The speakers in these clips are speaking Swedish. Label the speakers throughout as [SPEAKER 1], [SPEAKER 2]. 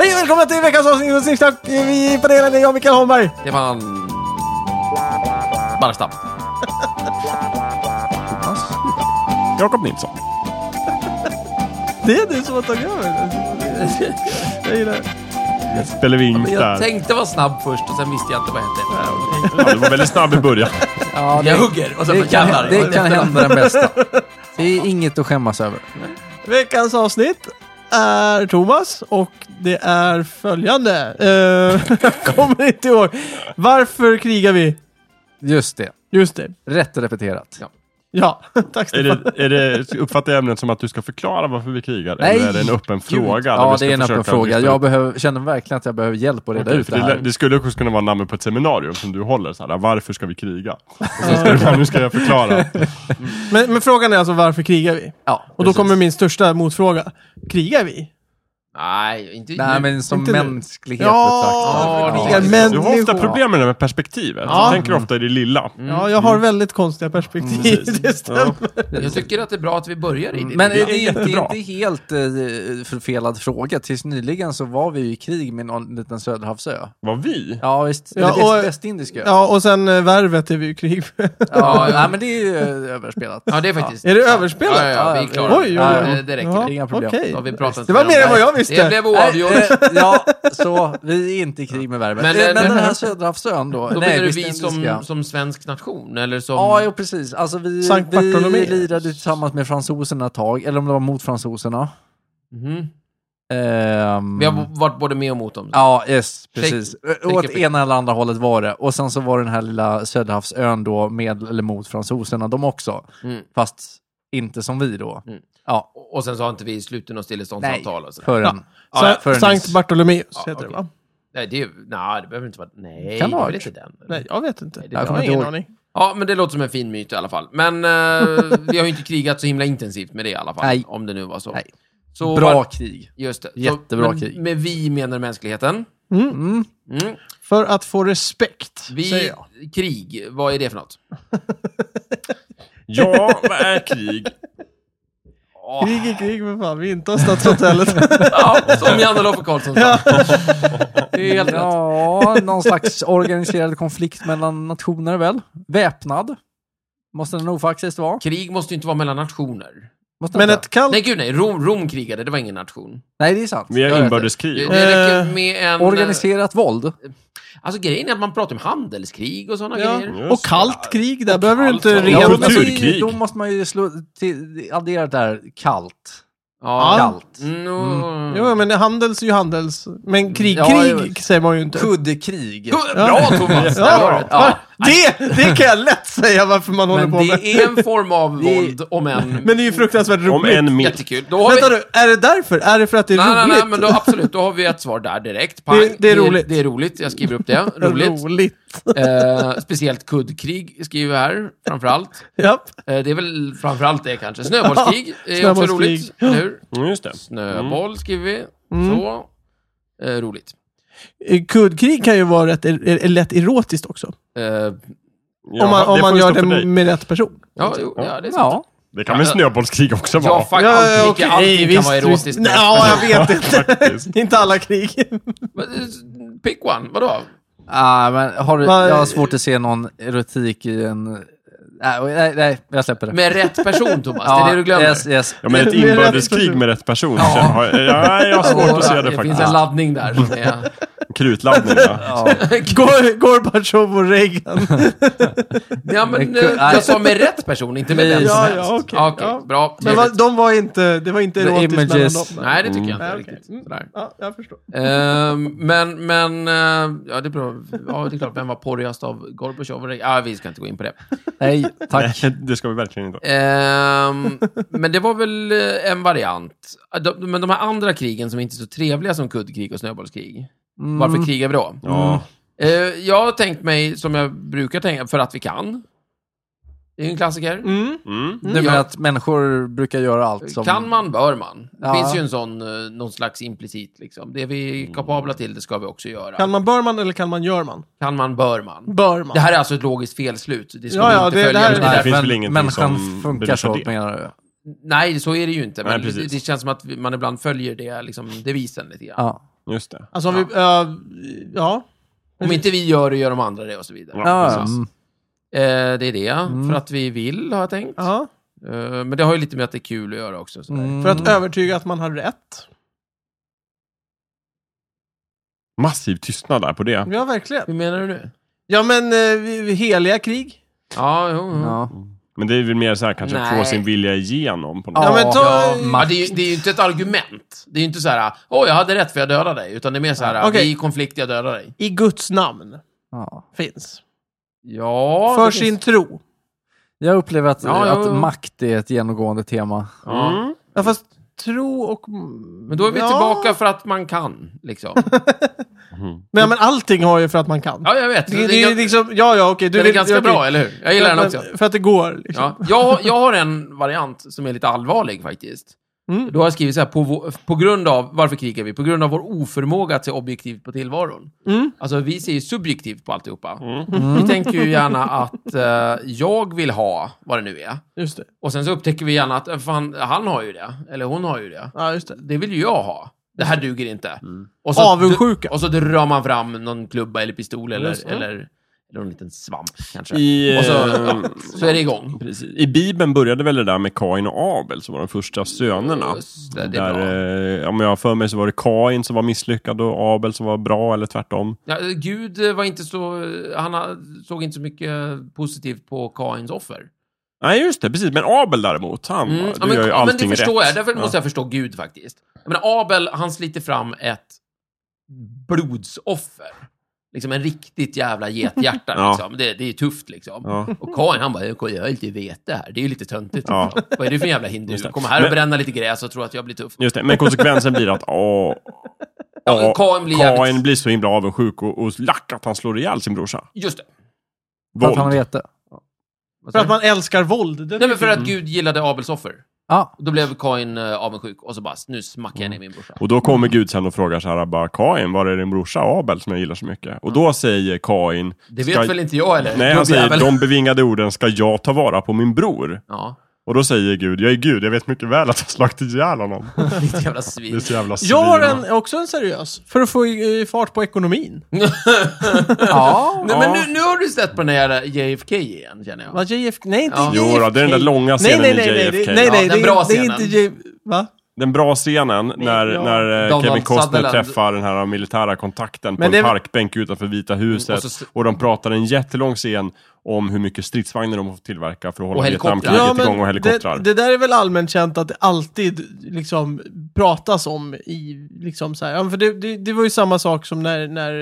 [SPEAKER 1] och välkomna till veckans avsnitt av Snicksnack. Vi på det hela, det är jag, Mikael Holmberg.
[SPEAKER 2] Stefan... Barstam.
[SPEAKER 3] Jakob Nilsson.
[SPEAKER 1] Det är du som har tagit över. Jag gillar det.
[SPEAKER 3] Spelar vi in
[SPEAKER 2] Jag
[SPEAKER 3] där.
[SPEAKER 2] tänkte vara snabb först och sen visste jag inte vad jag hette.
[SPEAKER 3] Ja, du var väldigt snabb i början.
[SPEAKER 4] Ja,
[SPEAKER 2] Jag
[SPEAKER 4] det,
[SPEAKER 2] hugger och sen
[SPEAKER 4] det,
[SPEAKER 2] bara jävlar.
[SPEAKER 4] kan, det kan hända den bästa. Det är inget att skämmas över.
[SPEAKER 1] Veckans avsnitt är Thomas och det är följande. Eh, jag kommer inte ihåg. Varför krigar vi?
[SPEAKER 4] Just det.
[SPEAKER 1] Just det.
[SPEAKER 4] Rätt repeterat.
[SPEAKER 1] Ja, tack
[SPEAKER 3] Är
[SPEAKER 1] Stefan.
[SPEAKER 3] det, är det, uppfattar jag ämnet som att du ska förklara varför vi krigar?
[SPEAKER 4] Nej,
[SPEAKER 3] Eller är det en öppen fråga? där vi
[SPEAKER 4] Ja,
[SPEAKER 3] ska
[SPEAKER 4] det är en
[SPEAKER 3] försöka
[SPEAKER 4] öppen fråga.
[SPEAKER 3] lista
[SPEAKER 4] Jag
[SPEAKER 3] ut?
[SPEAKER 4] behöver, känner verkligen att jag behöver hjälp att reda
[SPEAKER 3] Okej,
[SPEAKER 4] ut
[SPEAKER 3] för
[SPEAKER 4] det
[SPEAKER 3] det,
[SPEAKER 4] här.
[SPEAKER 3] det skulle också kunna vara namnet på ett seminarium som du håller. Så här, varför ska vi kriga? Och sen ska du, nu ska jag förklara.
[SPEAKER 1] Men, men frågan är alltså varför krigar vi?
[SPEAKER 4] Ja,
[SPEAKER 1] Och då
[SPEAKER 4] precis.
[SPEAKER 1] kommer min största motfråga. Krigar vi?
[SPEAKER 2] Nej, inte
[SPEAKER 4] Nej, men som
[SPEAKER 1] Inte nu.
[SPEAKER 4] mänsklighet
[SPEAKER 1] Ja,
[SPEAKER 4] betraktat.
[SPEAKER 1] krigar
[SPEAKER 2] det är
[SPEAKER 1] människor.
[SPEAKER 3] Du har ofta problem med det här med perspektivet.
[SPEAKER 1] Ja. Mm.
[SPEAKER 3] Du tänker ofta i det lilla.
[SPEAKER 1] Ja, jag har väldigt konstiga perspektiv. Det stämmer.
[SPEAKER 2] Jag tycker att det är bra att vi börjar i det.
[SPEAKER 4] Mm, Men det
[SPEAKER 2] det,
[SPEAKER 4] är, inte, inte helt eh, förfelad fråga. Tills nyligen så var vi ju i krig med någon liten söderhavsö.
[SPEAKER 3] Vad vi?
[SPEAKER 4] Ja, visst.
[SPEAKER 1] Ja,
[SPEAKER 4] Eller väst-
[SPEAKER 1] och-
[SPEAKER 4] Västindisk ö. Ja,
[SPEAKER 1] Ja, och sen eh, värvet är vi ju i krig med.
[SPEAKER 4] ja, men det är ju eh, överspelat.
[SPEAKER 2] ja, det är faktiskt...
[SPEAKER 1] Är det överspelat?
[SPEAKER 2] Ja, ja, ja, vi är klara.
[SPEAKER 1] Oj, oj, oj.
[SPEAKER 2] Det, det räcker.
[SPEAKER 1] Ja,
[SPEAKER 4] Inga problem.
[SPEAKER 1] okej.
[SPEAKER 2] Då har vi pratat
[SPEAKER 1] Det var
[SPEAKER 2] med
[SPEAKER 1] mer
[SPEAKER 2] dem.
[SPEAKER 1] än vad jag visste.
[SPEAKER 2] Det blev oavgjort.
[SPEAKER 4] Nej, eh, ja, så vi är inte i krig med värmen.
[SPEAKER 2] Men,
[SPEAKER 4] Men,
[SPEAKER 2] eh,
[SPEAKER 4] men
[SPEAKER 2] den-
[SPEAKER 4] den här Söderhavsön då?
[SPEAKER 2] Då menar du vi
[SPEAKER 4] Västindiska.
[SPEAKER 2] som, som svensk nation? Eller som...
[SPEAKER 4] Ja, jo, precis. Alltså, vi,
[SPEAKER 1] Sankt
[SPEAKER 4] vi
[SPEAKER 1] Bartolomeus.
[SPEAKER 4] lirade tillsammans med fransoserna ett tag, eller om det var mot fransoserna.
[SPEAKER 2] Mhm.
[SPEAKER 4] Ehm,
[SPEAKER 2] Vi har varit både med och mot dem.
[SPEAKER 4] Ja, yes,
[SPEAKER 2] Shake-
[SPEAKER 4] precis.
[SPEAKER 2] shake
[SPEAKER 4] Åt
[SPEAKER 2] it.
[SPEAKER 4] ena eller andra hållet var det. Och sen så var den här lilla Söderhavsön då med eller mot fransoserna, de också.
[SPEAKER 2] Mm.
[SPEAKER 4] Fast inte som vi då.
[SPEAKER 2] Mm.
[SPEAKER 4] Ja,
[SPEAKER 2] Och sen så har inte vi sluten och stilleståndsavtal och sådär.
[SPEAKER 4] förrän...
[SPEAKER 1] Så,
[SPEAKER 4] Ja, förrän
[SPEAKER 1] Sankt Bartolomeus
[SPEAKER 2] Ja,
[SPEAKER 1] heter det
[SPEAKER 2] okej.
[SPEAKER 1] va?
[SPEAKER 2] Nej, det, är ju- nej, det behöver inte vara... Nej,
[SPEAKER 4] Kan
[SPEAKER 2] det
[SPEAKER 4] vara,
[SPEAKER 2] är väl inte
[SPEAKER 4] kanske.
[SPEAKER 2] den?
[SPEAKER 1] Nej, jag vet inte.
[SPEAKER 2] Nej, det
[SPEAKER 1] jag
[SPEAKER 4] kommer
[SPEAKER 1] har
[SPEAKER 4] inte
[SPEAKER 1] ingen
[SPEAKER 4] ihåg.
[SPEAKER 1] aning.
[SPEAKER 2] Ja, men det låter som en fin myt i alla fall. Men eh, vi har ju inte krigat så himla intensivt med det i alla fall.
[SPEAKER 4] Nej.
[SPEAKER 2] Om det nu var så.
[SPEAKER 4] Nej.
[SPEAKER 2] så
[SPEAKER 4] Bra
[SPEAKER 2] var-
[SPEAKER 4] krig.
[SPEAKER 2] Just det. Så,
[SPEAKER 4] Jättebra
[SPEAKER 2] men,
[SPEAKER 4] krig.
[SPEAKER 2] Med vi menar mänskligheten.
[SPEAKER 4] Mm.
[SPEAKER 2] Mm.
[SPEAKER 1] För att få respekt, säger
[SPEAKER 2] Vi,
[SPEAKER 1] jag.
[SPEAKER 2] krig, vad är det för något?
[SPEAKER 3] Ja, vad är krig?
[SPEAKER 2] Ah.
[SPEAKER 1] Krig är krig, men fan, vi är inte har Stadshotellet.
[SPEAKER 2] Ja, som Janne-Loffe Karlsson sa. Det är helt rätt.
[SPEAKER 4] Ja, någon slags organiserad konflikt mellan nationer väl? Väpnad? Måste det nog faktiskt vara.
[SPEAKER 2] Krig måste ju inte vara mellan nationer.
[SPEAKER 4] Måste
[SPEAKER 1] men
[SPEAKER 4] det?
[SPEAKER 1] ett kallt...
[SPEAKER 2] Nej, gud nej. Rom, Rom krigade, det var ingen nation.
[SPEAKER 4] Nej, det är sant.
[SPEAKER 3] Vi
[SPEAKER 4] Jag vet
[SPEAKER 3] har
[SPEAKER 4] det.
[SPEAKER 2] Det,
[SPEAKER 3] inbördeskrig.
[SPEAKER 2] det räcker
[SPEAKER 1] Eh,
[SPEAKER 2] med en...
[SPEAKER 4] Organiserat våld?
[SPEAKER 2] Alltså grejen är att man pratar om handelskrig och sådana
[SPEAKER 1] Ja.
[SPEAKER 2] grejer.
[SPEAKER 1] Och kallt krig, där behöver du
[SPEAKER 2] kallt.
[SPEAKER 1] inte
[SPEAKER 2] Ja,
[SPEAKER 1] reda...
[SPEAKER 3] men-
[SPEAKER 4] men så är det ju-
[SPEAKER 3] kulturkrig.
[SPEAKER 4] Då måste man ju slå till, addera det där kallt.
[SPEAKER 2] Ja. Mm,
[SPEAKER 4] Kallt.
[SPEAKER 2] No.
[SPEAKER 4] Mm.
[SPEAKER 1] Jo, men handels är ju handels. Men krig,
[SPEAKER 4] Ja,
[SPEAKER 1] krig
[SPEAKER 4] jo.
[SPEAKER 1] säger man ju inte.
[SPEAKER 4] Kuddkrig.
[SPEAKER 2] Bra Thomas! Där var det.
[SPEAKER 4] Ja.
[SPEAKER 1] Det, det kan jag lätt säga varför man håller
[SPEAKER 4] Men
[SPEAKER 1] på med.
[SPEAKER 2] Det är en form av
[SPEAKER 4] Det-
[SPEAKER 2] våld, om än
[SPEAKER 1] Men det är ju fruktansvärt
[SPEAKER 3] Om
[SPEAKER 1] roligt.
[SPEAKER 3] en minut.
[SPEAKER 2] jättekul. Då har
[SPEAKER 1] Vänta
[SPEAKER 2] vi...
[SPEAKER 1] nu, är det därför? Är det för att det är
[SPEAKER 2] Nej, nej,
[SPEAKER 1] roligt?
[SPEAKER 2] nej, men då, absolut, då har vi ett svar där direkt.
[SPEAKER 1] Det- det är roligt.
[SPEAKER 2] Det är roligt, jag skriver upp det. Roligt.
[SPEAKER 1] roligt.
[SPEAKER 2] Eh, speciellt kuddkrig skriver jag här, framförallt.
[SPEAKER 1] Japp.
[SPEAKER 2] Eh, det är väl framförallt det kanske. Snöbollskrig är också
[SPEAKER 1] Snöbollskrig. Mm.
[SPEAKER 2] roligt, eller hur?
[SPEAKER 3] Mm, just det.
[SPEAKER 2] Snöboll skriver vi. Så. Eh, roligt.
[SPEAKER 1] Kuddkrig kan ju vara rätt, är, är lätt erotiskt också.
[SPEAKER 2] Eh,
[SPEAKER 1] om man,
[SPEAKER 3] Jaha,
[SPEAKER 1] om
[SPEAKER 3] det
[SPEAKER 1] man
[SPEAKER 3] får
[SPEAKER 1] gör
[SPEAKER 3] stå för
[SPEAKER 1] det
[SPEAKER 3] dig.
[SPEAKER 1] med rätt person.
[SPEAKER 2] ja, jo, ja, det är sant.
[SPEAKER 4] Ja.
[SPEAKER 3] Det kan väl snöbollskrig också vara?
[SPEAKER 2] Ja, fuck, allt, Micke, allting kan vara erotiskt.
[SPEAKER 1] Nej, ja, jag vet inte.
[SPEAKER 3] Faktiskt.
[SPEAKER 1] Det är inte alla krig.
[SPEAKER 2] Men, eh, Pick one, vadå?
[SPEAKER 4] Ah, men har, du-
[SPEAKER 1] Vad-
[SPEAKER 4] jag har svårt att se någon erotik i en... Nej, nej, nej jag släpper det.
[SPEAKER 2] Med rätt person, Thomas.
[SPEAKER 4] Ja,
[SPEAKER 2] det är det du glömmer.
[SPEAKER 4] Yes, yes.
[SPEAKER 3] Ja, men
[SPEAKER 1] Med
[SPEAKER 3] ett
[SPEAKER 1] rätt
[SPEAKER 3] inbördeskrig
[SPEAKER 1] person.
[SPEAKER 3] med rätt person. Ja. Har, ja, jag har svårt att se det
[SPEAKER 2] det finns
[SPEAKER 3] faktiskt.
[SPEAKER 2] en laddning där. som är-
[SPEAKER 3] Krutladdning, ja.
[SPEAKER 4] Ja.
[SPEAKER 1] Gor- Gorbatjov och Reagan.
[SPEAKER 2] Ja, men
[SPEAKER 4] Men
[SPEAKER 2] eh,
[SPEAKER 4] ku- nej.
[SPEAKER 2] jag sa med rätt person, inte med vem som
[SPEAKER 1] Ja,
[SPEAKER 2] helst. Ah,
[SPEAKER 1] ja, okej. Ja.
[SPEAKER 2] bra.
[SPEAKER 1] Men vad-
[SPEAKER 2] Trevligt.
[SPEAKER 1] de var inte, det var inte
[SPEAKER 4] The
[SPEAKER 1] erotiskt mellan dem.
[SPEAKER 4] images.
[SPEAKER 2] Nej, det tycker jag inte
[SPEAKER 1] Nej, okej.
[SPEAKER 2] riktigt.
[SPEAKER 1] Mm.
[SPEAKER 2] Sådär.
[SPEAKER 1] Ja, jag förstår.
[SPEAKER 2] Ehm, men, men, eh, ja det är bra. Ja, det är klart, vem var porrigast av Gorbatjov och Reagan? Ah, vi ska inte gå in på det.
[SPEAKER 4] Nej, tack.
[SPEAKER 3] Nej, det ska vi verkligen inte.
[SPEAKER 2] Ehm, men det var väl eh, en variant. Ah, De, men de här andra krigen som inte är så trevliga som kuddkrig och snöbollskrig,
[SPEAKER 4] Mm.
[SPEAKER 2] varför krigar vi då?
[SPEAKER 3] Ja.
[SPEAKER 2] Eh,
[SPEAKER 1] Mm.
[SPEAKER 2] jag har tänkt mig, som jag brukar tänka, för att vi kan. Det är en klassiker.
[SPEAKER 1] Mm.
[SPEAKER 3] Mm.
[SPEAKER 4] Du menar att människor brukar göra allt som...
[SPEAKER 2] Kan man, bör man. Det
[SPEAKER 4] Ja.
[SPEAKER 2] finns ju en sån, eh, någon slags implicit liksom. Det vi
[SPEAKER 3] Mm.
[SPEAKER 2] är kapabla till, det ska vi också göra.
[SPEAKER 1] Kan
[SPEAKER 2] Kan,
[SPEAKER 1] man bör man eller kan man gör man?
[SPEAKER 2] man, bör man.
[SPEAKER 1] Bör man.
[SPEAKER 2] Det här är alltså ett logiskt felslut. Det ska
[SPEAKER 1] Ja,
[SPEAKER 2] vi
[SPEAKER 1] ja,
[SPEAKER 2] inte
[SPEAKER 1] det- det
[SPEAKER 2] följa.
[SPEAKER 1] här är-
[SPEAKER 2] utan
[SPEAKER 4] Nej,
[SPEAKER 3] Det finns
[SPEAKER 4] men
[SPEAKER 3] väl ingenting
[SPEAKER 4] människan
[SPEAKER 3] som
[SPEAKER 4] funkar
[SPEAKER 3] bevisar
[SPEAKER 4] så,
[SPEAKER 3] det.
[SPEAKER 4] menar du?
[SPEAKER 2] Nej, så är det ju inte. Men
[SPEAKER 3] Nej, precis.
[SPEAKER 2] det, det känns som att vi- man ibland följer det, liksom, devisen lite grann.
[SPEAKER 4] Ja.
[SPEAKER 3] Just det.
[SPEAKER 1] Alltså om vi... Ja. ja.
[SPEAKER 2] Om inte vi gör det, gör de andra det och så vidare.
[SPEAKER 3] Ja.
[SPEAKER 4] Ja,
[SPEAKER 2] precis.
[SPEAKER 4] mm.
[SPEAKER 2] Eh, det är det,
[SPEAKER 4] Mm.
[SPEAKER 2] för att vi vill, har jag tänkt.
[SPEAKER 1] ja.
[SPEAKER 2] Eh, men det har ju lite med att det är kul att göra också. sådär.
[SPEAKER 4] Mm.
[SPEAKER 1] För att övertyga att man hade rätt.
[SPEAKER 3] Massiv tystnad där på det.
[SPEAKER 1] Ja, verkligen.
[SPEAKER 2] Hur menar du nu?
[SPEAKER 1] Ja, men eh, vi- vi- heliga krig.
[SPEAKER 2] Ja, jo, jo.
[SPEAKER 4] Ja.
[SPEAKER 3] Men det är väl mer så här kanske att få
[SPEAKER 2] Nej.
[SPEAKER 3] sin vilja igenom på något
[SPEAKER 1] Ja,
[SPEAKER 4] Ja,
[SPEAKER 3] sätt.
[SPEAKER 1] men eh, ta...
[SPEAKER 4] ja,
[SPEAKER 2] Ja, det, är ju, det är ju inte ett argument. Det är ju inte så här, åh, jag hade rätt för jag dödade dig. Utan det är mer så här,
[SPEAKER 1] Okej.
[SPEAKER 2] vi är i konflikt, jag dödar dig.
[SPEAKER 1] I Guds namn
[SPEAKER 4] Ja.
[SPEAKER 1] finns.
[SPEAKER 2] Ja,
[SPEAKER 1] För
[SPEAKER 2] det
[SPEAKER 1] sin
[SPEAKER 2] finns-
[SPEAKER 1] tro.
[SPEAKER 4] Jag upplever att,
[SPEAKER 2] Ja, ja, ja.
[SPEAKER 4] att makt är ett genomgående tema.
[SPEAKER 2] Ja.
[SPEAKER 3] Mm.
[SPEAKER 1] Ja, fast tro och...
[SPEAKER 2] Men då är vi
[SPEAKER 1] ja.
[SPEAKER 2] tillbaka för att man kan, liksom.
[SPEAKER 1] Men, ja, men allting har ju för att man kan.
[SPEAKER 2] Ja, jag vet.
[SPEAKER 1] det, det,
[SPEAKER 2] Den
[SPEAKER 1] är ju liksom... Ja, ja, okej. Du
[SPEAKER 2] den är
[SPEAKER 1] vill-
[SPEAKER 2] ganska
[SPEAKER 1] okej.
[SPEAKER 2] bra, eller hur? Jag gillar den också.
[SPEAKER 1] För att det går. Liksom.
[SPEAKER 2] Ja. Jag, jag har en variant som är lite allvarlig faktiskt.
[SPEAKER 1] Mm.
[SPEAKER 2] Då har jag skrivit så här, på, vå- på grund av, varför krigar vi? På grund av vår oförmåga att se objektivt på tillvaron.
[SPEAKER 1] Mm.
[SPEAKER 2] Alltså vi ser ju subjektivt på alltihopa.
[SPEAKER 3] Mm.
[SPEAKER 2] Vi tänker ju gärna att eh, jag vill ha vad det nu är.
[SPEAKER 1] Just det.
[SPEAKER 2] Och sen så upptäcker vi gärna att eh, fan, han har ju det. Eller hon har ju det.
[SPEAKER 1] Ja, just det.
[SPEAKER 2] Det vill ju jag ha. Det här duger inte.
[SPEAKER 3] Mm.
[SPEAKER 2] Och
[SPEAKER 1] Avundsjuka.
[SPEAKER 2] Och så drar man fram någon klubba eller pistol
[SPEAKER 1] Just
[SPEAKER 2] eller,
[SPEAKER 1] det.
[SPEAKER 2] eller, eller en liten svamp kanske.
[SPEAKER 3] I,
[SPEAKER 2] Och så,
[SPEAKER 3] eh,
[SPEAKER 2] så är det igång.
[SPEAKER 3] precis. I Bibeln började väl det där med Kain och Abel som var de första sönerna.
[SPEAKER 2] Just det, det är bra.
[SPEAKER 3] Där, eh, om jag har för mig så var det Kain som var misslyckad och Abel som var bra eller tvärtom.
[SPEAKER 2] Ja, Gud eh, var inte så... Han ha- såg inte så mycket positivt på Kains offer.
[SPEAKER 3] Nej just det, precis. Men Abel däremot, han bara, du
[SPEAKER 2] Mm. ja, men,
[SPEAKER 3] gör ju
[SPEAKER 2] ja, men
[SPEAKER 3] allting
[SPEAKER 2] det förstår
[SPEAKER 3] rätt.
[SPEAKER 2] jag. Därför
[SPEAKER 3] Ja.
[SPEAKER 2] måste jag förstå Gud faktiskt. Men Abel, han sliter fram ett blodsoffer. Liksom en riktigt jävla gethjärta.
[SPEAKER 3] Ja.
[SPEAKER 2] liksom. det, det är tufft liksom.
[SPEAKER 3] Ja.
[SPEAKER 2] Och Kain, han bara, jag har ju inte vete här. Det är ju lite töntigt.
[SPEAKER 3] Ja.
[SPEAKER 2] liksom. Vad är det för jävla hindu?
[SPEAKER 3] Just det.
[SPEAKER 2] Kommer här och
[SPEAKER 3] Men-
[SPEAKER 2] bränna lite gräs och tror att jag blir tuff.
[SPEAKER 3] Just det, men konsekvensen blir att åh,
[SPEAKER 2] Ja,
[SPEAKER 3] åh,
[SPEAKER 2] Kain blir
[SPEAKER 3] Kain
[SPEAKER 2] jävligt...
[SPEAKER 3] blir så himla avundsjuk och, och lack att han slår ihjäl sin brorsa.
[SPEAKER 2] Just det.
[SPEAKER 4] För att han
[SPEAKER 3] Våld.
[SPEAKER 4] vet det.
[SPEAKER 2] Vad
[SPEAKER 1] För
[SPEAKER 2] sa
[SPEAKER 1] att
[SPEAKER 2] du?
[SPEAKER 1] man älskar våld. Den
[SPEAKER 2] Nej, men för att Gud gillade Abels offer.
[SPEAKER 4] Ja.
[SPEAKER 2] Och Då blev Kain eh, avundsjuk och så bara, nu smackar jag ner
[SPEAKER 1] Mm.
[SPEAKER 2] min brorsa.
[SPEAKER 3] Och då kommer Gud sen och frågar så här, bara Kain, var är din brorsa Abel som jag gillar så mycket? Och då säger Kain,
[SPEAKER 2] Det vet
[SPEAKER 3] Ska-
[SPEAKER 2] väl inte jag eller?
[SPEAKER 3] nej han säger
[SPEAKER 2] Gubbjävel.
[SPEAKER 3] de bevingade orden, ska jag ta vara på min bror?
[SPEAKER 2] Ja,
[SPEAKER 3] Och då säger Gud, jag är Gud, jag vet mycket väl att jag slagit ihjäl honom.
[SPEAKER 2] ditt jävla
[SPEAKER 3] Det är
[SPEAKER 2] svin.
[SPEAKER 3] så jävla svin.
[SPEAKER 1] Jag har en, också en seriös. För att få i- i fart på ekonomin.
[SPEAKER 4] ja.
[SPEAKER 2] Nej, men nu, nu har du sett på den här JFK igen, känner jag.
[SPEAKER 1] Vad JFK? Nej, inte
[SPEAKER 2] Ja.
[SPEAKER 1] JFK.
[SPEAKER 3] Jo då, det är den där långa
[SPEAKER 1] Nej,
[SPEAKER 3] scenen
[SPEAKER 1] nej, nej, nej,
[SPEAKER 3] i
[SPEAKER 1] nej,
[SPEAKER 3] JFK.
[SPEAKER 1] nej,
[SPEAKER 2] Ja,
[SPEAKER 1] nej,
[SPEAKER 2] den
[SPEAKER 1] det,
[SPEAKER 2] bra
[SPEAKER 1] är- det är
[SPEAKER 2] scenen.
[SPEAKER 1] inte J... Va?
[SPEAKER 3] Den bra scenen när,
[SPEAKER 1] ja.
[SPEAKER 3] när eh,
[SPEAKER 2] Donald
[SPEAKER 3] Kevin Costner
[SPEAKER 2] Sutherland.
[SPEAKER 3] träffar den här militära kontakten på
[SPEAKER 1] Men
[SPEAKER 3] en
[SPEAKER 1] det är väl-
[SPEAKER 3] parkbänk utanför Vita huset.
[SPEAKER 2] Mm,
[SPEAKER 3] och,
[SPEAKER 2] och så-
[SPEAKER 3] de pratar en jättelång scen om hur mycket stridsvagnar de får tillverka för att hålla
[SPEAKER 2] Och helikoptrar.
[SPEAKER 3] Vietnamkriget igång och helikoptrar.
[SPEAKER 1] det, det där är väl allmänt känt att det alltid liksom pratas om i liksom så här. Ja, för det, det, det var ju samma sak som när, när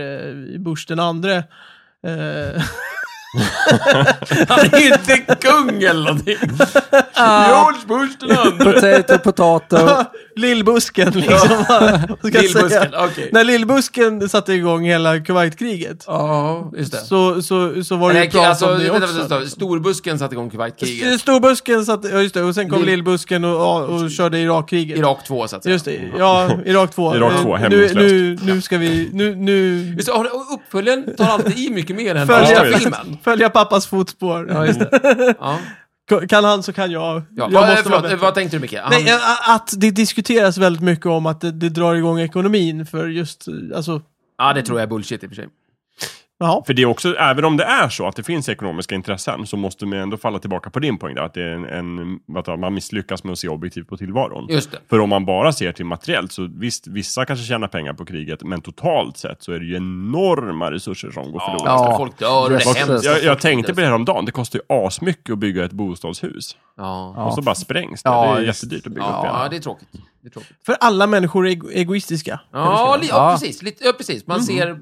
[SPEAKER 1] eh, Bush den andre eh,
[SPEAKER 2] Han är ju inte kung eller någonting. George Bush den andre.
[SPEAKER 4] Potato, potato.
[SPEAKER 1] Lillbusken liksom. Vad ska jag säga?
[SPEAKER 2] Lillbusken, okej.
[SPEAKER 1] När Lillbusken satte igång hela Kuwaitkriget
[SPEAKER 2] Ja, just det.
[SPEAKER 1] så, så, så var det ju
[SPEAKER 2] Nej,
[SPEAKER 1] prat
[SPEAKER 2] alltså,
[SPEAKER 1] om det
[SPEAKER 2] vänta, vänta,
[SPEAKER 1] också.
[SPEAKER 2] vänta. Storbusken satte igång Kuwaitkriget.
[SPEAKER 1] Storbusken satte, ja just det, och sen kom
[SPEAKER 2] Lill-
[SPEAKER 1] Lillbusken och, och, och körde Irakkriget.
[SPEAKER 2] Irak 2, så att säga.
[SPEAKER 1] Just det, ja, Irak 2.
[SPEAKER 3] Irak 2,
[SPEAKER 1] Eh, nu,
[SPEAKER 3] hämningslöst.
[SPEAKER 1] nu, nu ska vi, nu, nu
[SPEAKER 2] Just det, och- och uppföljaren tar alltid i mycket mer än
[SPEAKER 1] Följa-
[SPEAKER 2] första
[SPEAKER 3] Ja, visst.
[SPEAKER 2] filmen.
[SPEAKER 1] följa pappas fotspår.
[SPEAKER 2] Ja, just det. Ja.
[SPEAKER 1] K- Kan han så kan jag.
[SPEAKER 2] Ja.
[SPEAKER 1] jag
[SPEAKER 2] Vad-
[SPEAKER 1] måste vara
[SPEAKER 2] förlåt, eh,
[SPEAKER 1] bättre.
[SPEAKER 2] vad tänkte du, Micke? Han-
[SPEAKER 1] Nej, eh, att det diskuteras väldigt mycket om att det, det drar igång ekonomin för just, eh, alltså,
[SPEAKER 2] Ja, det tror jag är bullshit i och för sig.
[SPEAKER 1] jaha.
[SPEAKER 3] För det är också, även om det är så att det finns ekonomiska intressen, så måste man ändå falla tillbaka på din poäng där, att det är en, en, att man misslyckas med att se objektivt på tillvaron.
[SPEAKER 2] Just det.
[SPEAKER 3] För om man bara ser till materiellt, så visst, vissa kanske tjänar pengar på kriget, men totalt sett så är det ju enorma resurser som går
[SPEAKER 2] Ja,
[SPEAKER 3] förlorade.
[SPEAKER 2] alltså, folk dör och det
[SPEAKER 4] Vad-
[SPEAKER 2] är hemskt.
[SPEAKER 3] Jag, jag tänkte på det här om dagen. det kostar ju asmycket att bygga ett bostadshus.
[SPEAKER 2] Ja.
[SPEAKER 4] Ja.
[SPEAKER 3] Och så bara sprängs det.
[SPEAKER 4] Ja,
[SPEAKER 3] det är
[SPEAKER 4] just-
[SPEAKER 3] jättedyrt att bygga upp
[SPEAKER 2] Ja,
[SPEAKER 3] igen.
[SPEAKER 2] det är tråkigt. Det är tråkigt.
[SPEAKER 1] För alla människor är ego- egoistiska.
[SPEAKER 2] Ja, li- ja,
[SPEAKER 4] Ja.
[SPEAKER 2] precis. Lite, ja, precis. Man ser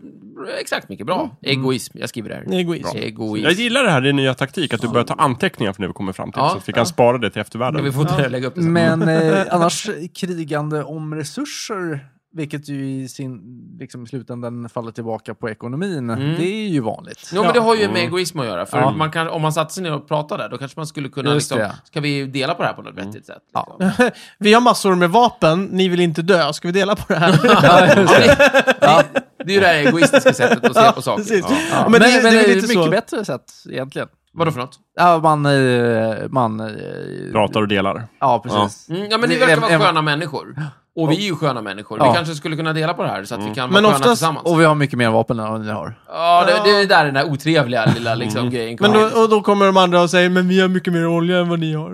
[SPEAKER 2] exakt mycket bra. Egoism. Jag skriver det här.
[SPEAKER 1] Egoism.
[SPEAKER 2] Egoism.
[SPEAKER 3] Jag gillar det här, det är nya taktik, att du börjar ta anteckningar för det vi kommer fram till.
[SPEAKER 2] Ja.
[SPEAKER 3] så att vi kan spara det till
[SPEAKER 2] Men vi
[SPEAKER 3] eftervärlden.
[SPEAKER 2] får inte lägga upp det sen.
[SPEAKER 4] Men eh, annars krigande om resurser, vilket ju i sin liksom, i slutändan faller tillbaka på ekonomin. Det är ju vanligt.
[SPEAKER 2] Jo, men det har ju med egoism att göra. För
[SPEAKER 4] Ja.
[SPEAKER 2] man kan, om man satte sig ner och pratade, då kanske man skulle kunna
[SPEAKER 4] Just
[SPEAKER 2] liksom,
[SPEAKER 4] det.
[SPEAKER 2] ska vi dela på det här på något vettigt sätt? Liksom.
[SPEAKER 1] Vi har massor med vapen, ni vill inte dö, ska vi dela på det här?
[SPEAKER 2] Ja, det, det, det är ju det här egoistiska sättet att se på saker.
[SPEAKER 1] Precis.
[SPEAKER 2] Ja.
[SPEAKER 1] Ja,
[SPEAKER 4] Ja,
[SPEAKER 1] Men, det, det är väl
[SPEAKER 4] ett
[SPEAKER 1] lite
[SPEAKER 4] mycket
[SPEAKER 1] så.
[SPEAKER 4] bättre sätt egentligen.
[SPEAKER 2] Vadå för något?
[SPEAKER 4] Ja, man... eh, man eh,
[SPEAKER 3] Pratar och delar.
[SPEAKER 4] ja, precis.
[SPEAKER 2] Mm, ja, men ni verkar
[SPEAKER 4] En-
[SPEAKER 2] vara
[SPEAKER 4] en-
[SPEAKER 2] sköna människor. Och vi är ju sköna människor.
[SPEAKER 4] Ja.
[SPEAKER 2] Vi kanske skulle kunna dela på det här så att
[SPEAKER 3] Mm.
[SPEAKER 2] vi kan
[SPEAKER 1] Men
[SPEAKER 2] vara sköna
[SPEAKER 1] oftast-
[SPEAKER 2] tillsammans.
[SPEAKER 4] Och vi har mycket mer vapen än vad ni har.
[SPEAKER 2] Ja, det, det är där den där otrevliga
[SPEAKER 3] Mm.
[SPEAKER 2] lilla liksom, grejen
[SPEAKER 1] Men
[SPEAKER 2] kommer in.
[SPEAKER 1] då, och då kommer de andra och säger men vi har mycket mer olja än vad ni har.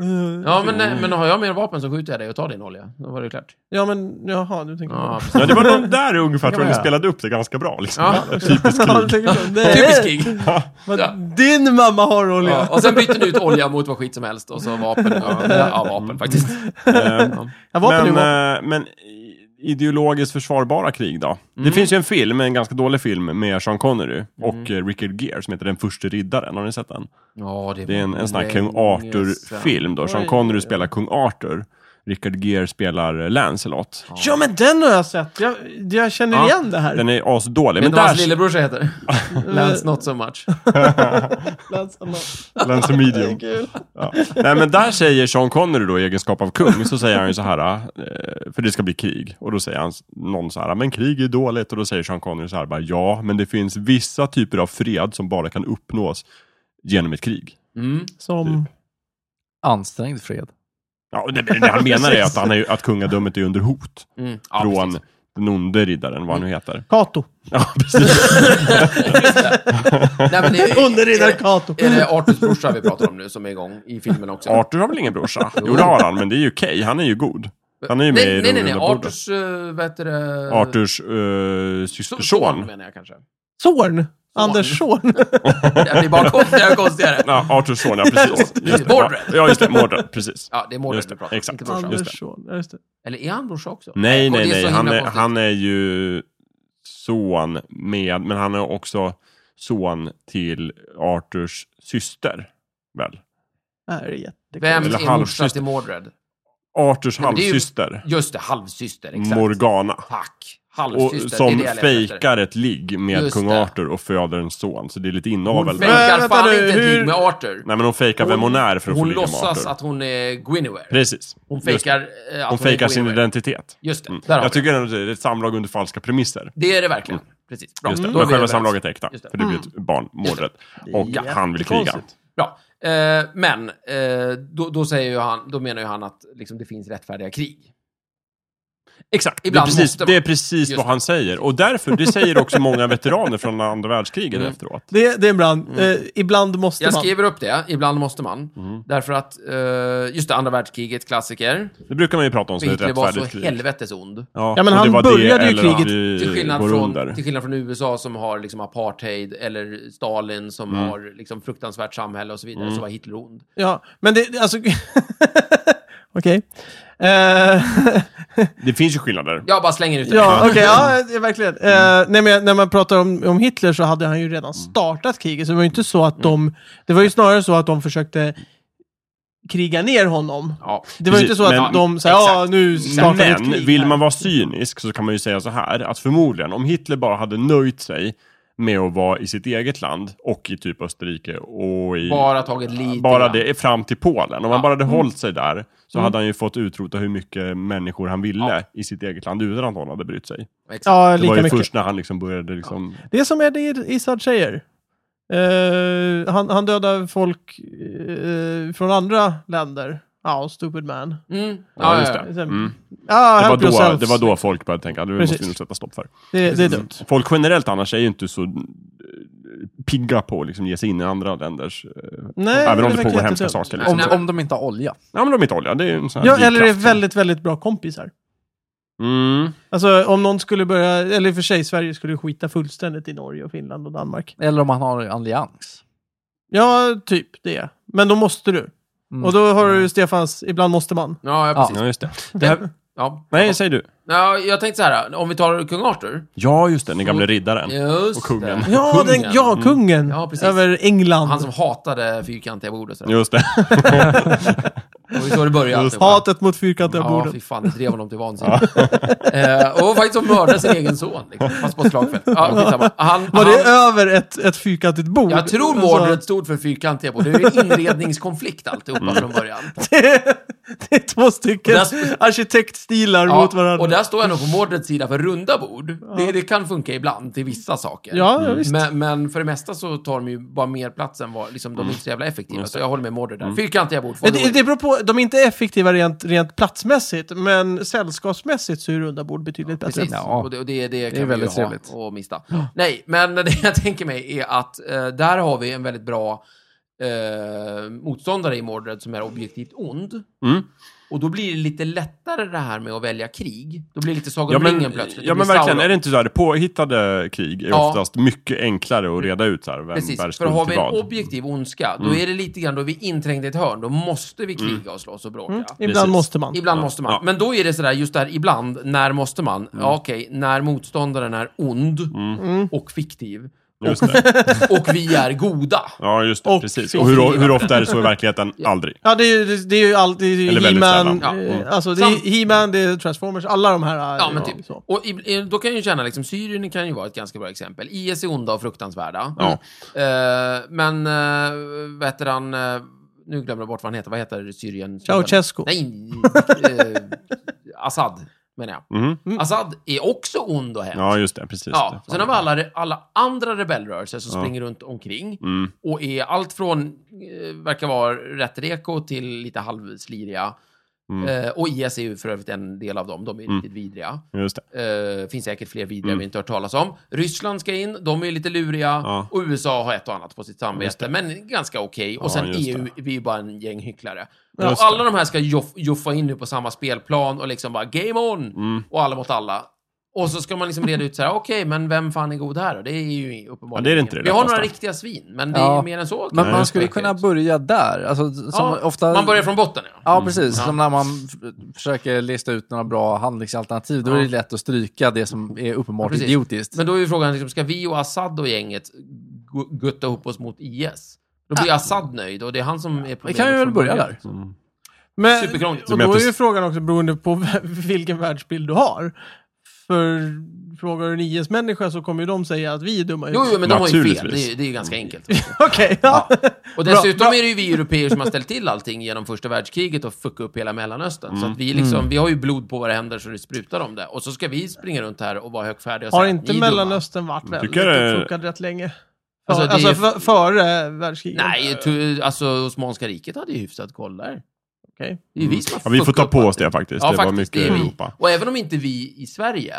[SPEAKER 2] Ja, men, nej, men har jag mer vapen så skjuter jag dig och tar din olja. Då var det klart.
[SPEAKER 1] Ja men jaha, du tänker
[SPEAKER 2] Ja,
[SPEAKER 1] på
[SPEAKER 2] precis.
[SPEAKER 3] Ja, det var de där ungefär tror jag ni
[SPEAKER 4] Ja.
[SPEAKER 3] spelade upp det ganska bra. Liksom.
[SPEAKER 2] Ja.
[SPEAKER 3] Typiskt
[SPEAKER 1] Ja, du
[SPEAKER 3] krig.
[SPEAKER 1] tänker på- Nej,
[SPEAKER 2] Typiskt krig.
[SPEAKER 1] vad-
[SPEAKER 2] Ja.
[SPEAKER 1] Din mamma har olja.
[SPEAKER 2] Ja, och sen byter ni ut olja mot vad skit som helst och så vapen. Ja, ja vapen faktiskt.
[SPEAKER 3] Eh,
[SPEAKER 1] Jag var på
[SPEAKER 3] Men,
[SPEAKER 1] nivå.
[SPEAKER 3] eh, men i- ideologiskt försvarbara krig då?
[SPEAKER 2] Mm.
[SPEAKER 3] Det finns ju en film, en ganska dålig film med Sean Connery och eh,
[SPEAKER 2] Mm.
[SPEAKER 3] Richard Gere som heter Den förste riddaren. Har ni sett den?
[SPEAKER 2] Ja,
[SPEAKER 3] Det är en, en sån här
[SPEAKER 2] länge
[SPEAKER 3] kung
[SPEAKER 2] sedan.
[SPEAKER 3] Arthur-film då. Sean
[SPEAKER 1] Oj.
[SPEAKER 3] Connery spelar kung Arthur. Richard Gere spelar eh, Lancelot.
[SPEAKER 1] Ja men den har jag sett. Jag, jag känner
[SPEAKER 2] Ja,
[SPEAKER 1] igen det här.
[SPEAKER 3] Den är asdålig.
[SPEAKER 2] Vet
[SPEAKER 3] Men
[SPEAKER 2] du vad hans
[SPEAKER 3] där...
[SPEAKER 2] lillebrorsa heter? Lance Not So Much.
[SPEAKER 3] Lance Medium. Ja. Nej, men där säger Sean Connery då i egenskap av kung, så säger han ju så här, eh, för det ska bli krig. Och då säger han s- någon så här, men krig är dåligt. Och då säger Sean Connery så här, bara, ja, men det finns vissa typer av fred som bara kan uppnås genom ett krig.
[SPEAKER 2] Mm.
[SPEAKER 1] Som...
[SPEAKER 4] Ansträngd fred.
[SPEAKER 3] Ja, och det, det han menar är att, han är, ju- att kungadömet är under hot
[SPEAKER 2] Mm. Ja,
[SPEAKER 3] från
[SPEAKER 2] precis.
[SPEAKER 3] den onde riddaren, vad han nu heter.
[SPEAKER 1] Kato.
[SPEAKER 3] Ja, precis.
[SPEAKER 2] Nej, men det är-
[SPEAKER 1] Underriddare Kato.
[SPEAKER 2] Är det Arthurs brorsa vi pratar om nu som är igång i filmen också?
[SPEAKER 3] Arthur har väl ingen brorsa? Jo, det har han, men det är ju okej. Han är ju god. Han är ju med
[SPEAKER 2] nej,
[SPEAKER 3] i
[SPEAKER 2] nej, nej, nej.
[SPEAKER 3] Runda bordet.
[SPEAKER 2] Arthurs, uh, vad heter det?
[SPEAKER 3] Arthurs eh,
[SPEAKER 2] Son,
[SPEAKER 3] systerson.
[SPEAKER 2] menar jag kanske.
[SPEAKER 1] Zorn. Anders Zorn.
[SPEAKER 2] Det här blir bara konstigare och konstigare.
[SPEAKER 3] Ja, Arthurs son, ja precis. Just det.
[SPEAKER 2] Mordred.
[SPEAKER 3] Ja, just det. Mordred, precis.
[SPEAKER 2] Ja, det är Mordred
[SPEAKER 3] Just
[SPEAKER 2] vi
[SPEAKER 3] det,
[SPEAKER 2] pratar om,
[SPEAKER 3] exakt.
[SPEAKER 2] inte brorsan.
[SPEAKER 3] Just det.
[SPEAKER 1] Anders Zorn. Ja, Just det.
[SPEAKER 2] Eller är han brorsa också?
[SPEAKER 3] Nej,
[SPEAKER 2] Och det
[SPEAKER 3] nej,
[SPEAKER 2] är
[SPEAKER 3] nej.
[SPEAKER 2] så
[SPEAKER 3] Han
[SPEAKER 2] himla
[SPEAKER 3] är,
[SPEAKER 2] konstigt.
[SPEAKER 3] han är ju son med, men han är också son till Arthurs syster. Väl?
[SPEAKER 1] Det här är jättekul.
[SPEAKER 2] Vem
[SPEAKER 3] eller
[SPEAKER 2] är morsa
[SPEAKER 3] halvsyster.
[SPEAKER 2] till Mordred?
[SPEAKER 3] Arthurs
[SPEAKER 2] Nej, men det är ju-
[SPEAKER 3] halvsyster,
[SPEAKER 2] Just det, halvsyster. Exakt.
[SPEAKER 3] Morgana.
[SPEAKER 2] Tack.
[SPEAKER 3] Och
[SPEAKER 2] Halvsyster. det
[SPEAKER 3] som
[SPEAKER 2] är det jag letar efter.
[SPEAKER 3] fejkar ett ligg med
[SPEAKER 2] Just
[SPEAKER 3] kung
[SPEAKER 2] det.
[SPEAKER 3] Arthur och föder en son. Så det är lite
[SPEAKER 2] Hon
[SPEAKER 3] inavel. där.
[SPEAKER 1] Men,
[SPEAKER 2] fejkar
[SPEAKER 1] vänta
[SPEAKER 2] fan
[SPEAKER 1] nu,
[SPEAKER 2] inte ett
[SPEAKER 1] hur-
[SPEAKER 2] ligg med Arthur.
[SPEAKER 3] Nej, men hon fejkar vem hon är för att få
[SPEAKER 2] hon
[SPEAKER 3] ligga med
[SPEAKER 2] låtsas
[SPEAKER 3] Arthur.
[SPEAKER 2] att hon är Guinevere.
[SPEAKER 3] Precis.
[SPEAKER 2] Hon
[SPEAKER 3] Just-
[SPEAKER 2] fejkar, eh, att
[SPEAKER 3] Hon
[SPEAKER 2] är
[SPEAKER 3] fejkar sin
[SPEAKER 2] Guinevere.
[SPEAKER 3] identitet. Mm.
[SPEAKER 2] Just det, Mm. där har vi
[SPEAKER 3] Jag tycker ändå det är ett samlag under falska premisser.
[SPEAKER 2] det. Det är det verkligen. Precis. Bra.
[SPEAKER 3] Mm.
[SPEAKER 2] Mm.
[SPEAKER 3] Just det.
[SPEAKER 2] Då är
[SPEAKER 3] Men
[SPEAKER 2] vi
[SPEAKER 3] själva
[SPEAKER 2] överens.
[SPEAKER 3] samlaget är äkta.
[SPEAKER 2] Just det.
[SPEAKER 3] För det blir ett barn, mordrätt. Och
[SPEAKER 1] Ja.
[SPEAKER 3] han vill kriga.
[SPEAKER 1] Jättekonstigt.
[SPEAKER 2] Bra. Eh, men eh, då, då, säger ju han, då menar ju han att liksom, det finns rättfärdiga krig.
[SPEAKER 3] Exakt.
[SPEAKER 2] Ibland
[SPEAKER 3] det är precis,
[SPEAKER 2] måste man.
[SPEAKER 3] det är precis
[SPEAKER 2] Just
[SPEAKER 3] vad
[SPEAKER 2] det.
[SPEAKER 3] han säger. Och därför, det säger också många veteraner från andra världskriget
[SPEAKER 2] Mm.
[SPEAKER 3] efteråt.
[SPEAKER 1] Det, det är ibland.
[SPEAKER 3] Mm.
[SPEAKER 1] Eh, ibland måste
[SPEAKER 2] Jag
[SPEAKER 1] man.
[SPEAKER 2] skriver upp det, ibland måste man. Därför att, eh, just det, andra världskriget, klassiker.
[SPEAKER 3] Det brukar man ju prata om som ett
[SPEAKER 2] Hitler var så
[SPEAKER 3] rättfärdigt krig.
[SPEAKER 2] helvetes ond.
[SPEAKER 1] Ja, men
[SPEAKER 3] och det
[SPEAKER 1] han
[SPEAKER 3] var det
[SPEAKER 1] började ju
[SPEAKER 3] eller
[SPEAKER 1] kriget-
[SPEAKER 3] att vi
[SPEAKER 2] Till skillnad,
[SPEAKER 3] går
[SPEAKER 2] från,
[SPEAKER 3] under.
[SPEAKER 2] till skillnad från USA som har liksom apartheid eller Stalin som
[SPEAKER 3] Mm.
[SPEAKER 2] har liksom fruktansvärt samhälle och så vidare, så var Hitler ond.
[SPEAKER 1] Ja, men det, det- alltså... Okej. Eh,
[SPEAKER 3] Det finns ju skillnader.
[SPEAKER 2] Jag bara slänger ut det.
[SPEAKER 1] ja, okej. ja, det är verkligen. Eh, nej, men jag- när man pratar om, om Hitler så hade han ju
[SPEAKER 3] Mm.
[SPEAKER 1] redan startat kriget, så det var ju inte så att de... Det var ju snarare så att de försökte kriga ner honom.
[SPEAKER 2] Ja.
[SPEAKER 1] Det var ju inte
[SPEAKER 3] Precis,
[SPEAKER 1] så att
[SPEAKER 3] men-
[SPEAKER 1] de sa ja, nu startar vi ett
[SPEAKER 3] Men
[SPEAKER 1] krig.
[SPEAKER 3] vill
[SPEAKER 1] här."
[SPEAKER 3] man vara cynisk så kan man ju säga så här att förmodligen om Hitler bara hade nöjt sig med att vara i sitt eget land och i typ Österrike och i
[SPEAKER 2] Bara tagit lite
[SPEAKER 3] bara
[SPEAKER 2] grann.
[SPEAKER 3] det är fram till Polen. Om han bara hade hållit sig där så hade han ju fått utrota hur mycket människor han ville i sitt eget land utan att någon hade brytt sig.
[SPEAKER 2] Exakt.
[SPEAKER 1] Ja,
[SPEAKER 3] Det var
[SPEAKER 1] lika
[SPEAKER 3] ju
[SPEAKER 1] mycket.
[SPEAKER 3] först när han liksom började liksom...
[SPEAKER 1] Det är som Eddie Izzard säger. Eh, han, han dödar folk eh, från andra länder. Ja, stupid man.
[SPEAKER 2] Mm.
[SPEAKER 3] Ja,
[SPEAKER 2] Ja,
[SPEAKER 3] just
[SPEAKER 2] ja, ja.
[SPEAKER 3] det.
[SPEAKER 1] Sen-
[SPEAKER 3] Mm.
[SPEAKER 1] Ja,
[SPEAKER 3] Det, var
[SPEAKER 1] help
[SPEAKER 3] då,
[SPEAKER 1] yourselves.
[SPEAKER 3] det var då folk började tänka att det måste
[SPEAKER 1] Precis.
[SPEAKER 3] vi nog sätta stopp för.
[SPEAKER 1] Det, det är dumt.
[SPEAKER 3] Folk generellt annars är ju inte så eh, pigga på att liksom ge sig in i andra länders... eh,
[SPEAKER 1] Nej,
[SPEAKER 3] även om det
[SPEAKER 1] verkar
[SPEAKER 3] pågår hemska
[SPEAKER 1] jättedumt.
[SPEAKER 3] saker.
[SPEAKER 2] Nej,
[SPEAKER 3] Liksom.
[SPEAKER 4] Om,
[SPEAKER 2] men-
[SPEAKER 4] om de inte har olja.
[SPEAKER 3] Ja, men de är inte olja. Det är ju en sån här
[SPEAKER 1] Ja, eller är
[SPEAKER 3] drivkraft.
[SPEAKER 1] väldigt, väldigt bra kompisar.
[SPEAKER 3] Mm.
[SPEAKER 1] Alltså om någon skulle börja, eller i och för sig Sverige skulle skita fullständigt i Norge och Finland och Danmark.
[SPEAKER 4] Eller om man har en allians.
[SPEAKER 1] Ja, typ det. Men då måste du.
[SPEAKER 4] Mm.
[SPEAKER 1] Och då har du Stefans, ibland måste man.
[SPEAKER 2] Ja, ja, precis.
[SPEAKER 3] Ja, just det.
[SPEAKER 2] Det här- Ja.
[SPEAKER 3] Nej, säg du.
[SPEAKER 2] Ja, jag tänkte så här, om vi tar kung Arthur.
[SPEAKER 3] Ja, just det. Den
[SPEAKER 2] Mm.
[SPEAKER 3] gamle riddaren.
[SPEAKER 2] Just
[SPEAKER 3] Och kungen. Mm.
[SPEAKER 2] det.
[SPEAKER 1] Ja, den, ja kungen.
[SPEAKER 2] Ja, precis.
[SPEAKER 1] över England.
[SPEAKER 2] Han som hatade fyrkantiga bord och sådär.
[SPEAKER 3] Just det.
[SPEAKER 2] Det var ju så det började.
[SPEAKER 3] Just
[SPEAKER 2] alltihopa.
[SPEAKER 1] Hatet mot fyrkantiga
[SPEAKER 2] Ja,
[SPEAKER 1] bordet.
[SPEAKER 2] fy fan, det drev honom till vansinne. eh, och faktiskt som mördade sin egen son, liksom, fast på ett slagfält. Ja, skitsamma. han,
[SPEAKER 1] Var det
[SPEAKER 2] han,
[SPEAKER 1] över ett, ett fyrkantigt bord?
[SPEAKER 2] jag tror
[SPEAKER 1] Alltså,
[SPEAKER 2] Mordred stod för fyrkantiga bord. Det är ju inredningskonflikt alltihopa
[SPEAKER 3] Mm.
[SPEAKER 2] från början.
[SPEAKER 1] det, det är två stycken
[SPEAKER 2] Och där-
[SPEAKER 1] arkitektstilar mot varandra.
[SPEAKER 2] och där står jag nog på Mordreds sida för runda bord. Det, det kan funka ibland till vissa saker.
[SPEAKER 1] Ja, ja, visst.
[SPEAKER 2] Men, men för det mesta så tar de ju bara mer plats än vad, liksom, de är inte så jävla effektiva. Så jag håller med Mordred där. Fyrkantiga bord.
[SPEAKER 1] Men det, det beror på, de är inte effektiva rent, rent platsmässigt, men sällskapsmässigt så är runda bord betydligt bättre.
[SPEAKER 2] Precis,
[SPEAKER 4] Ja.
[SPEAKER 2] och det, och det, det kan
[SPEAKER 4] väldigt
[SPEAKER 2] vi ju
[SPEAKER 4] trevligt.
[SPEAKER 2] ha och missa. Nej, men det jag tänker mig är att eh, där har vi en väldigt bra eh, motståndare i Mordred som är objektivt ond.
[SPEAKER 3] Mm.
[SPEAKER 2] Och då blir det lite lättare det här med att välja krig. Då blir det lite Sagan
[SPEAKER 3] Ja
[SPEAKER 2] om ringen
[SPEAKER 3] men,
[SPEAKER 2] plötsligt.
[SPEAKER 3] ja,
[SPEAKER 2] Det blir
[SPEAKER 3] men verkligen,
[SPEAKER 2] Sauron.
[SPEAKER 3] är det inte så här, det påhittade krig är
[SPEAKER 2] Ja.
[SPEAKER 3] oftast mycket enklare att reda ut så här, vem bär
[SPEAKER 2] Precis, för
[SPEAKER 3] skuld
[SPEAKER 2] har vi
[SPEAKER 3] till
[SPEAKER 2] en
[SPEAKER 3] vad.
[SPEAKER 2] objektiv ondska, då är det lite grann, då är vi inträngda i ett hörn. Då måste vi kriga och slåss och bråka.
[SPEAKER 1] Mm, ibland
[SPEAKER 3] Precis.
[SPEAKER 1] måste man.
[SPEAKER 2] Ibland måste man.
[SPEAKER 3] Ja. Mm.
[SPEAKER 2] Men då är det sådär, just där ibland, när måste man? Ja, okej, när motståndaren är ond och fiktiv.
[SPEAKER 3] Just det.
[SPEAKER 2] Och vi är goda.
[SPEAKER 3] Ja, just det.
[SPEAKER 1] Och
[SPEAKER 3] precis.
[SPEAKER 1] fri-
[SPEAKER 3] Och hur, hur ofta är det så i verkligheten? Aldrig.
[SPEAKER 1] Ja, det är ju, det, det är ju allt, det är ju
[SPEAKER 3] Eller väldigt
[SPEAKER 1] He-Man,
[SPEAKER 3] sällan.
[SPEAKER 2] Ja.
[SPEAKER 1] eh,
[SPEAKER 2] Mm.
[SPEAKER 1] alltså det
[SPEAKER 2] Samt-
[SPEAKER 1] är He-Man, det är Transformers, alla de här.
[SPEAKER 2] Ja,
[SPEAKER 1] eh,
[SPEAKER 2] men typ.
[SPEAKER 1] så.
[SPEAKER 2] Och i- eh, då kan jag ju känna, liksom, Syrien kan ju vara ett ganska bra exempel. IS är onda och fruktansvärda.
[SPEAKER 3] Ja.
[SPEAKER 2] Eh, men, uh, vet du han, eh, nu glömmer jag bort vad han heter. Vad heter Syrien?
[SPEAKER 1] Ceausescu.
[SPEAKER 2] Nej, eh, Assad menar jag.
[SPEAKER 3] Mhm.
[SPEAKER 2] Assad är också ond och hemsk.
[SPEAKER 3] Ja, just det. Precis.
[SPEAKER 2] Ja,
[SPEAKER 3] Det.
[SPEAKER 2] sen har vi alla, alla andra rebellrörelser som
[SPEAKER 3] Ja.
[SPEAKER 2] springer runt omkring
[SPEAKER 3] Mm.
[SPEAKER 2] och är allt från, eh, verkar vara rätt reko till lite halvsliriga.
[SPEAKER 3] Mm.
[SPEAKER 2] Eh, och IS är ju för övrigt en del av dem, de är
[SPEAKER 3] Mm.
[SPEAKER 2] riktigt vidriga.
[SPEAKER 3] Just det.
[SPEAKER 2] Eh, finns säkert fler vidriga
[SPEAKER 3] Mm.
[SPEAKER 2] vi inte hört talas om. Ryssland ska in, de är lite luriga.
[SPEAKER 3] Ja.
[SPEAKER 2] Och USA har ett och annat på sitt
[SPEAKER 3] Just
[SPEAKER 2] samvete, men ganska okej.
[SPEAKER 3] Ja,
[SPEAKER 2] Och sen
[SPEAKER 3] just
[SPEAKER 2] EU, vi är bara en gäng hycklare.
[SPEAKER 3] Ja.
[SPEAKER 2] och alla de här ska joff- joffa in nu på samma spelplan och liksom bara game on!
[SPEAKER 3] Mm.
[SPEAKER 2] Och alla mot alla. Och så ska man liksom reda ut så här, okej, men vem fan är god här då? Det är ju
[SPEAKER 3] Ja,
[SPEAKER 2] uppenbarligen
[SPEAKER 3] det är det inte
[SPEAKER 2] ingen.
[SPEAKER 3] det
[SPEAKER 2] Vi har några
[SPEAKER 3] lättaste.
[SPEAKER 2] riktiga svin, men det är
[SPEAKER 4] Ja.
[SPEAKER 2] mer än så.
[SPEAKER 4] Men
[SPEAKER 3] Nej,
[SPEAKER 4] man
[SPEAKER 3] just
[SPEAKER 4] skulle
[SPEAKER 2] det.
[SPEAKER 4] kunna börja där. Alltså, som
[SPEAKER 2] Ja,
[SPEAKER 4] ofta...
[SPEAKER 2] Man börjar från botten, ja.
[SPEAKER 4] Ja, precis.
[SPEAKER 2] Ja.
[SPEAKER 4] Som när man f- försöker lista ut några bra handlingsalternativ. Då är det lätt att stryka det som är uppenbart
[SPEAKER 2] Ja, precis.
[SPEAKER 4] idiotiskt.
[SPEAKER 2] Men då är ju frågan, liksom, ska vi och Assad och gänget gu- gutta ihop oss mot IS? Då blir Assad nöjd och det är han som är problemet.
[SPEAKER 4] vi kan ju väl
[SPEAKER 2] från
[SPEAKER 4] börja
[SPEAKER 2] början.
[SPEAKER 4] där.
[SPEAKER 1] Men,
[SPEAKER 2] Superkrångligt.
[SPEAKER 1] och
[SPEAKER 3] Men
[SPEAKER 1] då är
[SPEAKER 3] jag
[SPEAKER 1] ju
[SPEAKER 3] först-
[SPEAKER 1] frågan också beroende på v- vilken världsbild du har. För frågar du en IS-människa så kommer ju de säga att vi är dumma i
[SPEAKER 2] Jo, jo, men de har ju fel.
[SPEAKER 3] Naturligtvis.
[SPEAKER 2] Det
[SPEAKER 3] Mm.
[SPEAKER 2] är, det är ju ganska enkelt.
[SPEAKER 1] Okej, ja.
[SPEAKER 2] Och dessutom
[SPEAKER 1] bra.
[SPEAKER 2] är det ju vi europeer som har ställt till allting genom första världskriget och fuckat upp hela Mellanöstern. Så att vi, liksom, vi har ju blod på våra händer så det sprutar om det. Och så ska vi springa runt här och vara högfärdiga och
[SPEAKER 1] Har
[SPEAKER 2] säga,
[SPEAKER 1] inte
[SPEAKER 2] "Ni är dumma."
[SPEAKER 1] Mellanöstern varit väldigt
[SPEAKER 3] Tycker det-
[SPEAKER 1] uppfuckad rätt länge?
[SPEAKER 2] Alltså,
[SPEAKER 1] Alltså,
[SPEAKER 2] det
[SPEAKER 1] alltså
[SPEAKER 2] är-
[SPEAKER 1] f- före världskriget?
[SPEAKER 2] Nej, tu- alltså Osmanska riket hade ju hyfsat koll där.
[SPEAKER 1] Okej.
[SPEAKER 2] Det är ju vi som har
[SPEAKER 3] Mm. Ja, vi får
[SPEAKER 2] fuckat
[SPEAKER 3] ta
[SPEAKER 2] upp
[SPEAKER 3] på oss
[SPEAKER 2] allting.
[SPEAKER 3] det faktiskt.
[SPEAKER 2] Ja,
[SPEAKER 3] det var
[SPEAKER 2] faktiskt.
[SPEAKER 3] mycket
[SPEAKER 2] Det är vi.
[SPEAKER 3] Europa.
[SPEAKER 2] Och även om inte vi i Sverige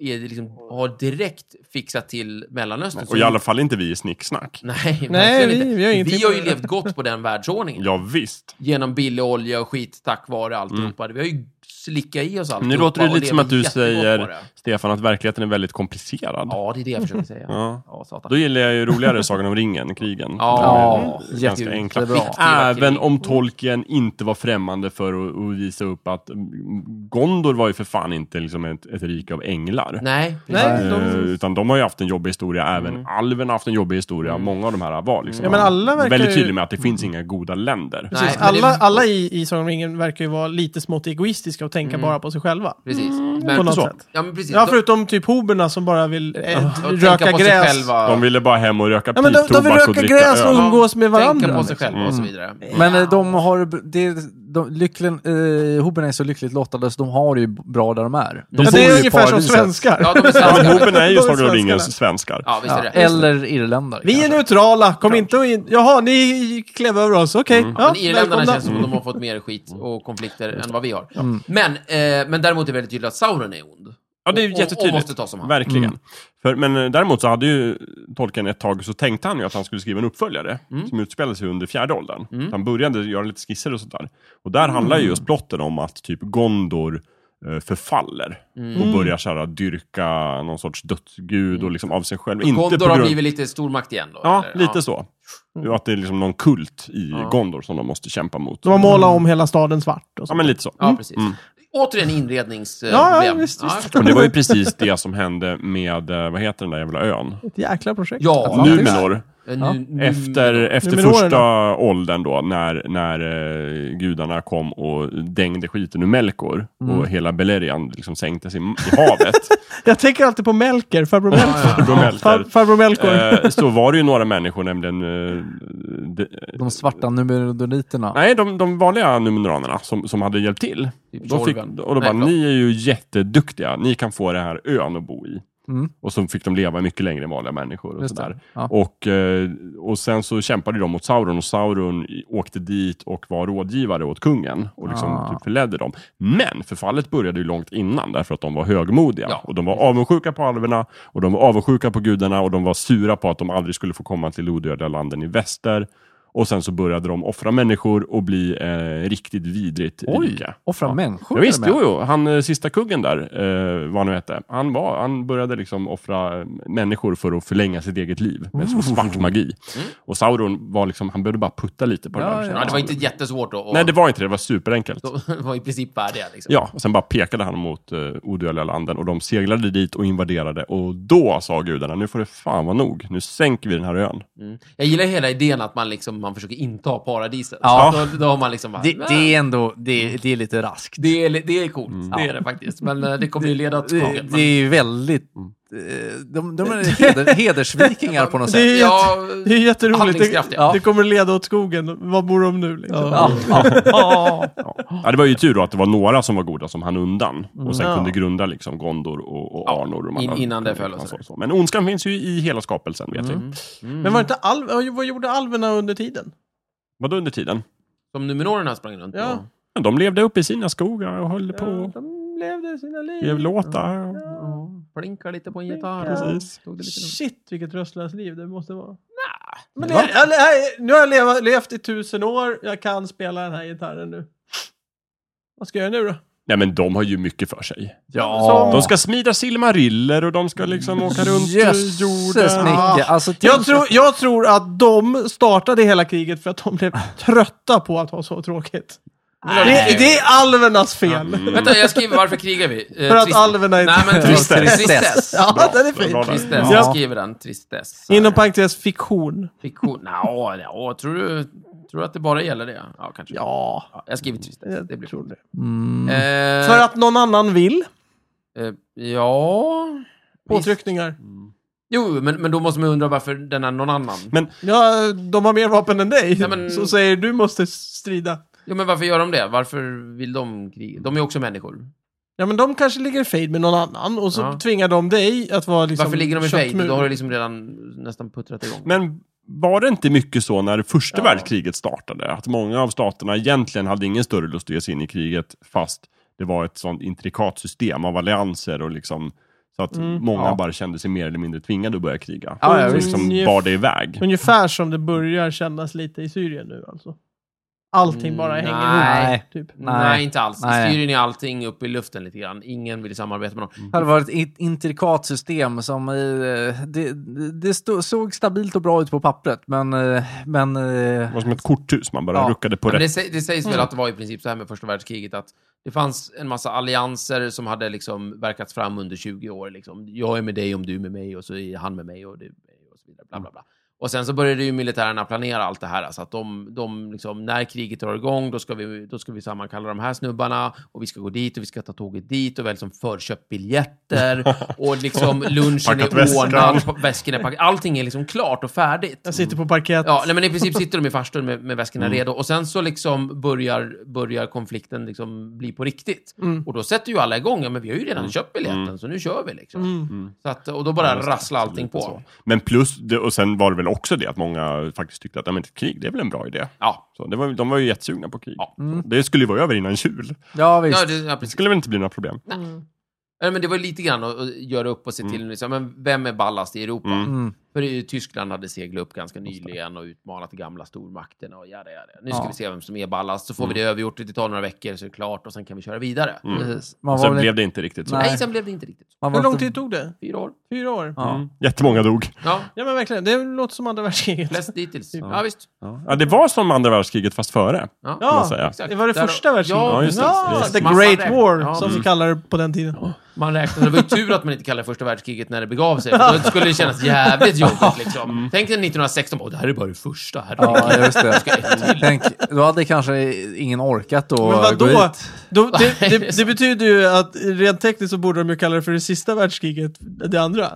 [SPEAKER 2] är det liksom, har direkt fixat till Mellanöstern. så-
[SPEAKER 3] Och i alla fall inte vi i snicksnack.
[SPEAKER 2] Nej,
[SPEAKER 1] Nej,
[SPEAKER 2] verkligen
[SPEAKER 1] vi-
[SPEAKER 2] inte.
[SPEAKER 1] vi har ingenting
[SPEAKER 2] har ju
[SPEAKER 1] med det.
[SPEAKER 2] levt gott på den världsordningen.
[SPEAKER 3] Ja, visst.
[SPEAKER 2] Genom billig olja och skit tack vare alltihopa. Vi har ju slickat i oss alltihopa.
[SPEAKER 3] Mm. Nu låter det
[SPEAKER 2] och
[SPEAKER 3] lite som
[SPEAKER 2] lever
[SPEAKER 3] att du
[SPEAKER 2] jättegott på
[SPEAKER 3] säger,
[SPEAKER 2] det.
[SPEAKER 3] Stefan, att verkligheten är väldigt komplicerad.
[SPEAKER 2] Ja, det är det jag försöker säga.
[SPEAKER 3] Ja.
[SPEAKER 2] Ja, satan.
[SPEAKER 3] Då gillar jag ju roligare Sagan om ringen, krigen.
[SPEAKER 2] Ja,
[SPEAKER 3] De är ganska enkla.
[SPEAKER 4] jättebra.
[SPEAKER 3] Även om tolken inte var främmande för att, att visa upp att mm, Gondor var ju för fan inte liksom ett, ett rike av änglar.
[SPEAKER 2] Nej,
[SPEAKER 1] Nej,
[SPEAKER 3] Eh,
[SPEAKER 1] de... Mm.
[SPEAKER 3] Utan de har ju haft en jobbig historia, även alven har haft en jobbig historia. Många av de här var liksom
[SPEAKER 1] Ja, men alla verkar
[SPEAKER 3] väldigt
[SPEAKER 1] ju-
[SPEAKER 3] tydliga med att det finns inga goda länder.
[SPEAKER 2] Nej.
[SPEAKER 1] Precis,
[SPEAKER 2] men det-
[SPEAKER 1] alla, alla i, i Sagan om ringen verkar ju vara lite smått egoistiska och tänka bara på sig själva.
[SPEAKER 2] Mm. precis.
[SPEAKER 1] På
[SPEAKER 2] Men,
[SPEAKER 1] något
[SPEAKER 3] så.
[SPEAKER 1] sätt.
[SPEAKER 2] ja, men precis.
[SPEAKER 1] Ja,
[SPEAKER 2] Då-
[SPEAKER 1] förutom typ hoberna som bara vill eh,
[SPEAKER 2] och tänka
[SPEAKER 1] röka
[SPEAKER 2] på sig
[SPEAKER 1] gräs.
[SPEAKER 2] själva.
[SPEAKER 3] De ville bara hem och röka
[SPEAKER 1] Ja, men de, de vill
[SPEAKER 3] piptobak och
[SPEAKER 1] röka
[SPEAKER 3] dricka
[SPEAKER 1] gräs och
[SPEAKER 3] öl.
[SPEAKER 1] umgås med varandra.
[SPEAKER 2] Tänka på sig
[SPEAKER 1] liksom.
[SPEAKER 2] själva och så vidare.
[SPEAKER 4] Men eh, de har, det, de, lyckligen, eh, hoberna är så lyckligt lottade så de har det ju bra där de är. De
[SPEAKER 1] Ja,
[SPEAKER 4] bor
[SPEAKER 1] det
[SPEAKER 4] ju
[SPEAKER 1] är
[SPEAKER 4] i
[SPEAKER 1] ungefär som
[SPEAKER 4] paradiset.
[SPEAKER 1] svenskar.
[SPEAKER 2] Ja, de är
[SPEAKER 3] Ja, men
[SPEAKER 2] svenskar.
[SPEAKER 3] hopen är
[SPEAKER 1] De är
[SPEAKER 3] ju Sagan om
[SPEAKER 1] svenskarna.
[SPEAKER 3] ringens svenskar.
[SPEAKER 2] Ja, visst är
[SPEAKER 4] Ja,
[SPEAKER 2] det.
[SPEAKER 4] eller irländare.
[SPEAKER 1] Vi är
[SPEAKER 4] kanske.
[SPEAKER 1] neutrala, kom inte och in... Jaha, ni klev över oss, okej. Ja,
[SPEAKER 2] men irländarna
[SPEAKER 1] välkomna.
[SPEAKER 2] känns som att de har fått mer skit och konflikter än vad vi har. Men, eh, men däremot är det väldigt tydligt att Sauron är ond.
[SPEAKER 3] Ja, det är ju
[SPEAKER 2] Och- och-
[SPEAKER 3] jättetydligt.
[SPEAKER 2] Och måste tas om hand.
[SPEAKER 3] Verkligen. För, men eh, däremot så hade ju Tolkien ett tag så tänkte han ju att han skulle skriva en uppföljare
[SPEAKER 2] Mm.
[SPEAKER 3] som utspelade sig under fjärde åldern. Så Han började göra lite skisser och sånt där. Och där
[SPEAKER 2] Mm.
[SPEAKER 3] handlar ju just plotten om att typ Gondor eh, förfaller
[SPEAKER 2] Mm.
[SPEAKER 3] och börjar så här, dyrka någon sorts dödsgud och liksom av sig själv. Inte
[SPEAKER 2] Gondor
[SPEAKER 3] på
[SPEAKER 2] har
[SPEAKER 3] grund...
[SPEAKER 2] blivit lite stormakt igen då?
[SPEAKER 3] Ja,
[SPEAKER 2] eller?
[SPEAKER 3] lite så. Och Att det är liksom någon kult i
[SPEAKER 2] Ja.
[SPEAKER 3] Gondor som de måste kämpa mot.
[SPEAKER 1] De har målat om hela staden svart och
[SPEAKER 3] Ja,
[SPEAKER 1] så.
[SPEAKER 3] men lite så.
[SPEAKER 2] Ja, precis.
[SPEAKER 3] Mm.
[SPEAKER 2] Återigen inredningsproblem.
[SPEAKER 1] Ja, ja, visst, visst.
[SPEAKER 3] Och det var ju precis det som hände med, eh, vad heter den där jävla ön?
[SPEAKER 1] Ett jäkla projekt.
[SPEAKER 2] Ja,
[SPEAKER 3] Numenor.
[SPEAKER 2] Nu,
[SPEAKER 4] Mm.
[SPEAKER 2] nu,
[SPEAKER 3] Efter, efter
[SPEAKER 1] Numenorerna.
[SPEAKER 3] första åldern då, när, när eh, gudarna kom och dängde skiten ur Melkor
[SPEAKER 4] Mm.
[SPEAKER 3] och hela Beleriand liksom sänktes i, i havet.
[SPEAKER 1] Jag tänker alltid på Melker, farbror Melker. Far,
[SPEAKER 3] Farbror Melkor.
[SPEAKER 1] farbror Melkor.
[SPEAKER 3] Eh, så var det ju några människor, nämligen... eh, de,
[SPEAKER 4] De svarta numerodoniterna.
[SPEAKER 3] nej, de, de vanliga Numenoranerna som, som hade hjälpt till.
[SPEAKER 2] Typ
[SPEAKER 3] De fick,
[SPEAKER 2] Jorven.
[SPEAKER 3] och de
[SPEAKER 2] Nej,
[SPEAKER 3] bara,
[SPEAKER 2] förlåt.
[SPEAKER 3] ni är ju jätteduktiga, ni kan få den här ön att bo i.
[SPEAKER 4] Mm.
[SPEAKER 3] Och så fick de leva mycket längre än vanliga människor. Och,
[SPEAKER 4] Just det.
[SPEAKER 3] sådär.
[SPEAKER 4] Ja.
[SPEAKER 3] Och, eh, och sen så kämpade de mot Sauron och Sauron i- åkte dit och var rådgivare åt kungen och liksom
[SPEAKER 4] Ah.
[SPEAKER 3] typ förledde dem. Men förfallet började ju långt innan därför att de var högmodiga.
[SPEAKER 2] Ja.
[SPEAKER 3] Och de var avundsjuka på alverna och de var avundsjuka på gudarna och de var sura på att de aldrig skulle få komma till odödliga landen i väster. Och sen så började de offra människor och bli eh, riktigt vidrigt
[SPEAKER 4] Oj.
[SPEAKER 3] rika.
[SPEAKER 4] Offra
[SPEAKER 3] Ja.
[SPEAKER 4] människor
[SPEAKER 3] Ja, visst,
[SPEAKER 4] till och
[SPEAKER 3] jo,
[SPEAKER 4] med.
[SPEAKER 3] jo. Han eh, sista kungen där, eh, vad han nu hette, han, var, han började liksom offra eh, människor för att förlänga sitt eget liv med så svart magi. Och Sauron var liksom, han behövde bara putta lite på
[SPEAKER 4] Mm. Ja,
[SPEAKER 3] den där.
[SPEAKER 2] Ja, det var inte jättesvårt att...
[SPEAKER 3] Nej, det var inte det. Det var superenkelt.
[SPEAKER 2] De var i princip färdiga. Liksom.
[SPEAKER 3] Ja, och sen bara pekade han mot eh, odödliga landen och de seglade dit och invaderade. Och då sa gudarna, nu får det fan vara nog. Nu sänker vi den här ön.
[SPEAKER 2] Mm. Jag gillar hela idén att man, liksom, man försöker inta paradiset.
[SPEAKER 4] Ja.
[SPEAKER 2] Så Då, då har man liksom bara,
[SPEAKER 4] Det,
[SPEAKER 2] "Nä."
[SPEAKER 4] det är ändå det, det är lite raskt.
[SPEAKER 2] det, är, det är coolt,
[SPEAKER 3] Mm.
[SPEAKER 2] det är det faktiskt. Men eh, det kommer ju leda åt
[SPEAKER 4] Det,
[SPEAKER 2] skogen.
[SPEAKER 4] det är ju väldigt... eh, De, de är heder, hedersvikingar på något
[SPEAKER 1] Det
[SPEAKER 4] sätt.
[SPEAKER 1] är,
[SPEAKER 2] Ja,
[SPEAKER 1] jätte, det är jätteroligt. Det,
[SPEAKER 2] handlingskraftiga.
[SPEAKER 1] det kommer leda åt skogen. Var bor de nu? Liksom?
[SPEAKER 4] Ja, ja, ja.
[SPEAKER 3] Ja. Ja, det var ju tur då att det var några som var goda som hann undan och sen
[SPEAKER 1] Mm. Ja.
[SPEAKER 3] kunde grunda liksom Gondor och, och Arnor. Och de
[SPEAKER 2] in-
[SPEAKER 3] andra
[SPEAKER 2] innan det föll och
[SPEAKER 3] kungarna
[SPEAKER 2] så.
[SPEAKER 3] och så. Men ondskan finns ju i hela skapelsen, vet
[SPEAKER 1] Mm.
[SPEAKER 3] vi.
[SPEAKER 1] Men var inte alv, ja, vad gjorde alverna under tiden?
[SPEAKER 3] Vadå under tiden?
[SPEAKER 2] Som Numenorerna sprang runt
[SPEAKER 1] Ja.
[SPEAKER 2] och...
[SPEAKER 3] Ja, de levde uppe i sina skogar och höll på
[SPEAKER 1] de levde sina liv.
[SPEAKER 3] och skrev låtar. och-
[SPEAKER 2] Plinkar lite på en gitarr.
[SPEAKER 1] Plinkar.
[SPEAKER 3] Precis.
[SPEAKER 2] Tog det lite lugnt.
[SPEAKER 1] Shit, vilket röstlöst liv det måste vara. Men
[SPEAKER 4] Va?
[SPEAKER 1] jag, jag, jag, nu har jag leva, levt i tusen år, jag kan spela den här gitarren nu. Vad ska jag göra nu då?
[SPEAKER 3] Nej, men de har ju mycket för sig.
[SPEAKER 1] Som-
[SPEAKER 3] De ska smida silmariller och de ska liksom åka runt
[SPEAKER 4] Jösses
[SPEAKER 3] jorden.
[SPEAKER 4] Nicke, alltså,
[SPEAKER 1] Jag
[SPEAKER 4] tänk-
[SPEAKER 1] tror, jag tror att de startade hela kriget för att de blev trötta på att ha så tråkigt.
[SPEAKER 2] Nej. Mm.
[SPEAKER 1] Det, det är alvernas fel.
[SPEAKER 2] Vänta, jag skriver varför krigar vi? Eh,
[SPEAKER 1] För att
[SPEAKER 2] trist-
[SPEAKER 1] alverna är
[SPEAKER 2] Nej, men
[SPEAKER 3] Tristess.
[SPEAKER 2] tristess. Tristess.
[SPEAKER 1] Ja,
[SPEAKER 3] Bra.
[SPEAKER 1] den är
[SPEAKER 3] Bra
[SPEAKER 1] fin.
[SPEAKER 3] där.
[SPEAKER 2] Tristess.
[SPEAKER 1] Ja.
[SPEAKER 2] Jag skriver den. Tristess.
[SPEAKER 1] Inom parentes fiktion.
[SPEAKER 2] Fiktion? Nja, ja, tror du... Tror du att det bara gäller det? Ja, kanske.
[SPEAKER 1] Ja,
[SPEAKER 2] Ja, Jag skriver tristess. Det blir
[SPEAKER 1] jag tror det.
[SPEAKER 4] Mm.
[SPEAKER 2] Eh,
[SPEAKER 1] För att någon annan vill.
[SPEAKER 2] eh, ja... Visst.
[SPEAKER 1] Påtryckningar.
[SPEAKER 2] Jo, men, men då måste man undra varför den är någon annan.
[SPEAKER 1] Ja, de har mer vapen än dig.
[SPEAKER 2] Nej, men-
[SPEAKER 1] Så säger du måste strida.
[SPEAKER 2] Jo, men varför gör de det? Varför vill de kriga? De är också människor.
[SPEAKER 1] Ja, men de kanske ligger i fejd med någon annan och så
[SPEAKER 2] Ja.
[SPEAKER 1] tvingar de dig att vara liksom
[SPEAKER 2] varför ligger de i fejd?
[SPEAKER 1] köttmur.
[SPEAKER 2] Då har det liksom redan nästan puttrat igång.
[SPEAKER 3] Men var det inte mycket så när första
[SPEAKER 2] Ja.
[SPEAKER 3] världskriget startade? Att många av staterna egentligen hade ingen större lust att ge sig in i kriget, fast det var ett sånt intrikat system av allianser och liksom så att många
[SPEAKER 4] Mm, Ja.
[SPEAKER 3] bara kände sig mer eller mindre tvingade att börja kriga.
[SPEAKER 4] Ja, ja,
[SPEAKER 3] och
[SPEAKER 4] visst.
[SPEAKER 3] liksom
[SPEAKER 1] Ungef-
[SPEAKER 3] bar det iväg.
[SPEAKER 1] Ungefär som det börjar kännas lite i Syrien nu alltså. Allting bara
[SPEAKER 2] Mm,
[SPEAKER 1] hänger
[SPEAKER 4] nej.
[SPEAKER 1] ihop. Typ.
[SPEAKER 2] Nej,
[SPEAKER 4] Nej.
[SPEAKER 2] inte alls.
[SPEAKER 4] Nej.
[SPEAKER 2] Syrien är allting uppe i luften lite grann. Ingen vill samarbeta med någon.
[SPEAKER 4] Det hade varit ett intrikat system som eh, det, det stod, såg stabilt och bra ut på pappret, men, eh, men eh,
[SPEAKER 3] Det var som ett korthus, man bara
[SPEAKER 4] Ja.
[SPEAKER 3] ruckade på
[SPEAKER 2] Men det,
[SPEAKER 3] rätt.
[SPEAKER 2] sä- det sägs väl att det var i princip så här med första världskriget, att det fanns en massa allianser som hade liksom verkats fram under 20 år. Liksom. Jag är med dig om du är med mig och så är han med mig och du är med mig och så vidare. Bla, bla, bla. Och sen så började ju militärerna planera allt det här. Alltså att de, de liksom, när kriget drar igång, då ska, vi, då ska vi sammankalla de här snubbarna och vi ska gå dit och vi ska ta tåget dit och väl som förköpt biljetter och liksom lunchen
[SPEAKER 3] Packat
[SPEAKER 2] är
[SPEAKER 3] väskan.
[SPEAKER 2] ordnad, pa- väskorna är packade. Allting är liksom klart och färdigt.
[SPEAKER 1] Jag sitter på parkett.
[SPEAKER 2] Ja, nej, men i princip sitter de i farstun med, med väskorna
[SPEAKER 4] Mm.
[SPEAKER 2] redo och sen så liksom börjar, börjar konflikten liksom bli på riktigt.
[SPEAKER 4] Mm.
[SPEAKER 2] Och då sätter ju alla igång, ja men vi har ju redan köpt biljetten så nu kör vi liksom.
[SPEAKER 4] Mm.
[SPEAKER 2] Så att, och då bara rasslar allting på.
[SPEAKER 3] Så. Men plus, det, och sen var det väl också det att många faktiskt tyckte att "Ja, men ett krig, det är väl en bra idé.
[SPEAKER 2] Ja.
[SPEAKER 3] Så det var, de var ju jättesugna på krig.
[SPEAKER 2] Ja.
[SPEAKER 4] Mm.
[SPEAKER 3] Så Det skulle ju vara över innan jul.
[SPEAKER 4] ja visst.
[SPEAKER 2] Ja, det, ja,
[SPEAKER 3] Det
[SPEAKER 2] precis.
[SPEAKER 3] skulle väl inte bli några problem.
[SPEAKER 2] Nej, men det var lite grann att, att göra upp och se till, liksom, men vem är ballast i Europa?
[SPEAKER 4] Mm.
[SPEAKER 2] För det är ju Tyskland hade seglat upp ganska nyligen och utmanat de gamla stormakterna och jada, jada. Nu ska
[SPEAKER 4] Ja. Mm.
[SPEAKER 2] vi se vem som är ballast, så får vi det övergjort, det tar några veckor så är det klart och sen kan vi köra vidare.
[SPEAKER 4] Precis. Man
[SPEAKER 3] Och
[SPEAKER 4] var
[SPEAKER 3] sen
[SPEAKER 4] väl,
[SPEAKER 3] blev det inte riktigt så.
[SPEAKER 4] Mm. Nej.
[SPEAKER 2] Nej, sen blev det inte riktigt så.
[SPEAKER 4] man var
[SPEAKER 1] Hur lång
[SPEAKER 4] inte-
[SPEAKER 1] tid tog det?
[SPEAKER 2] Fyra år.
[SPEAKER 1] Fyra år? Ja,
[SPEAKER 4] Ja.
[SPEAKER 3] Mm. Jättemånga dog.
[SPEAKER 2] Ja,
[SPEAKER 1] men verkligen. Det låter som andra världskriget.
[SPEAKER 2] flest dittills. Ja, visst.
[SPEAKER 3] Ja, det var som andra världskriget fast före.
[SPEAKER 2] Ja.
[SPEAKER 3] Kan man säga.
[SPEAKER 1] Ja,
[SPEAKER 2] Exakt.
[SPEAKER 1] det var det
[SPEAKER 2] Där-
[SPEAKER 1] första världskriget.
[SPEAKER 2] Ja,
[SPEAKER 3] just det. Precis.
[SPEAKER 1] the
[SPEAKER 2] Massa
[SPEAKER 1] Great
[SPEAKER 2] där.
[SPEAKER 1] War,
[SPEAKER 2] Ja.
[SPEAKER 1] som vi kallar det på den tiden.
[SPEAKER 2] Man räknade, det var ju tur att man inte kallade det första världskriget när det begav sig. för Då skulle det kännas jävligt jobbigt liksom. Tänk dig 1916, bara, "Åh, det här är bara det första. Här
[SPEAKER 4] Ja, just det. Tänk, då hade kanske ingen orkat då.
[SPEAKER 1] Men
[SPEAKER 4] gå
[SPEAKER 1] vadå?
[SPEAKER 4] hit.
[SPEAKER 1] Då, det, det, det betyder ju att rent tekniskt så borde de ju kalla det för det sista världskriget, det andra.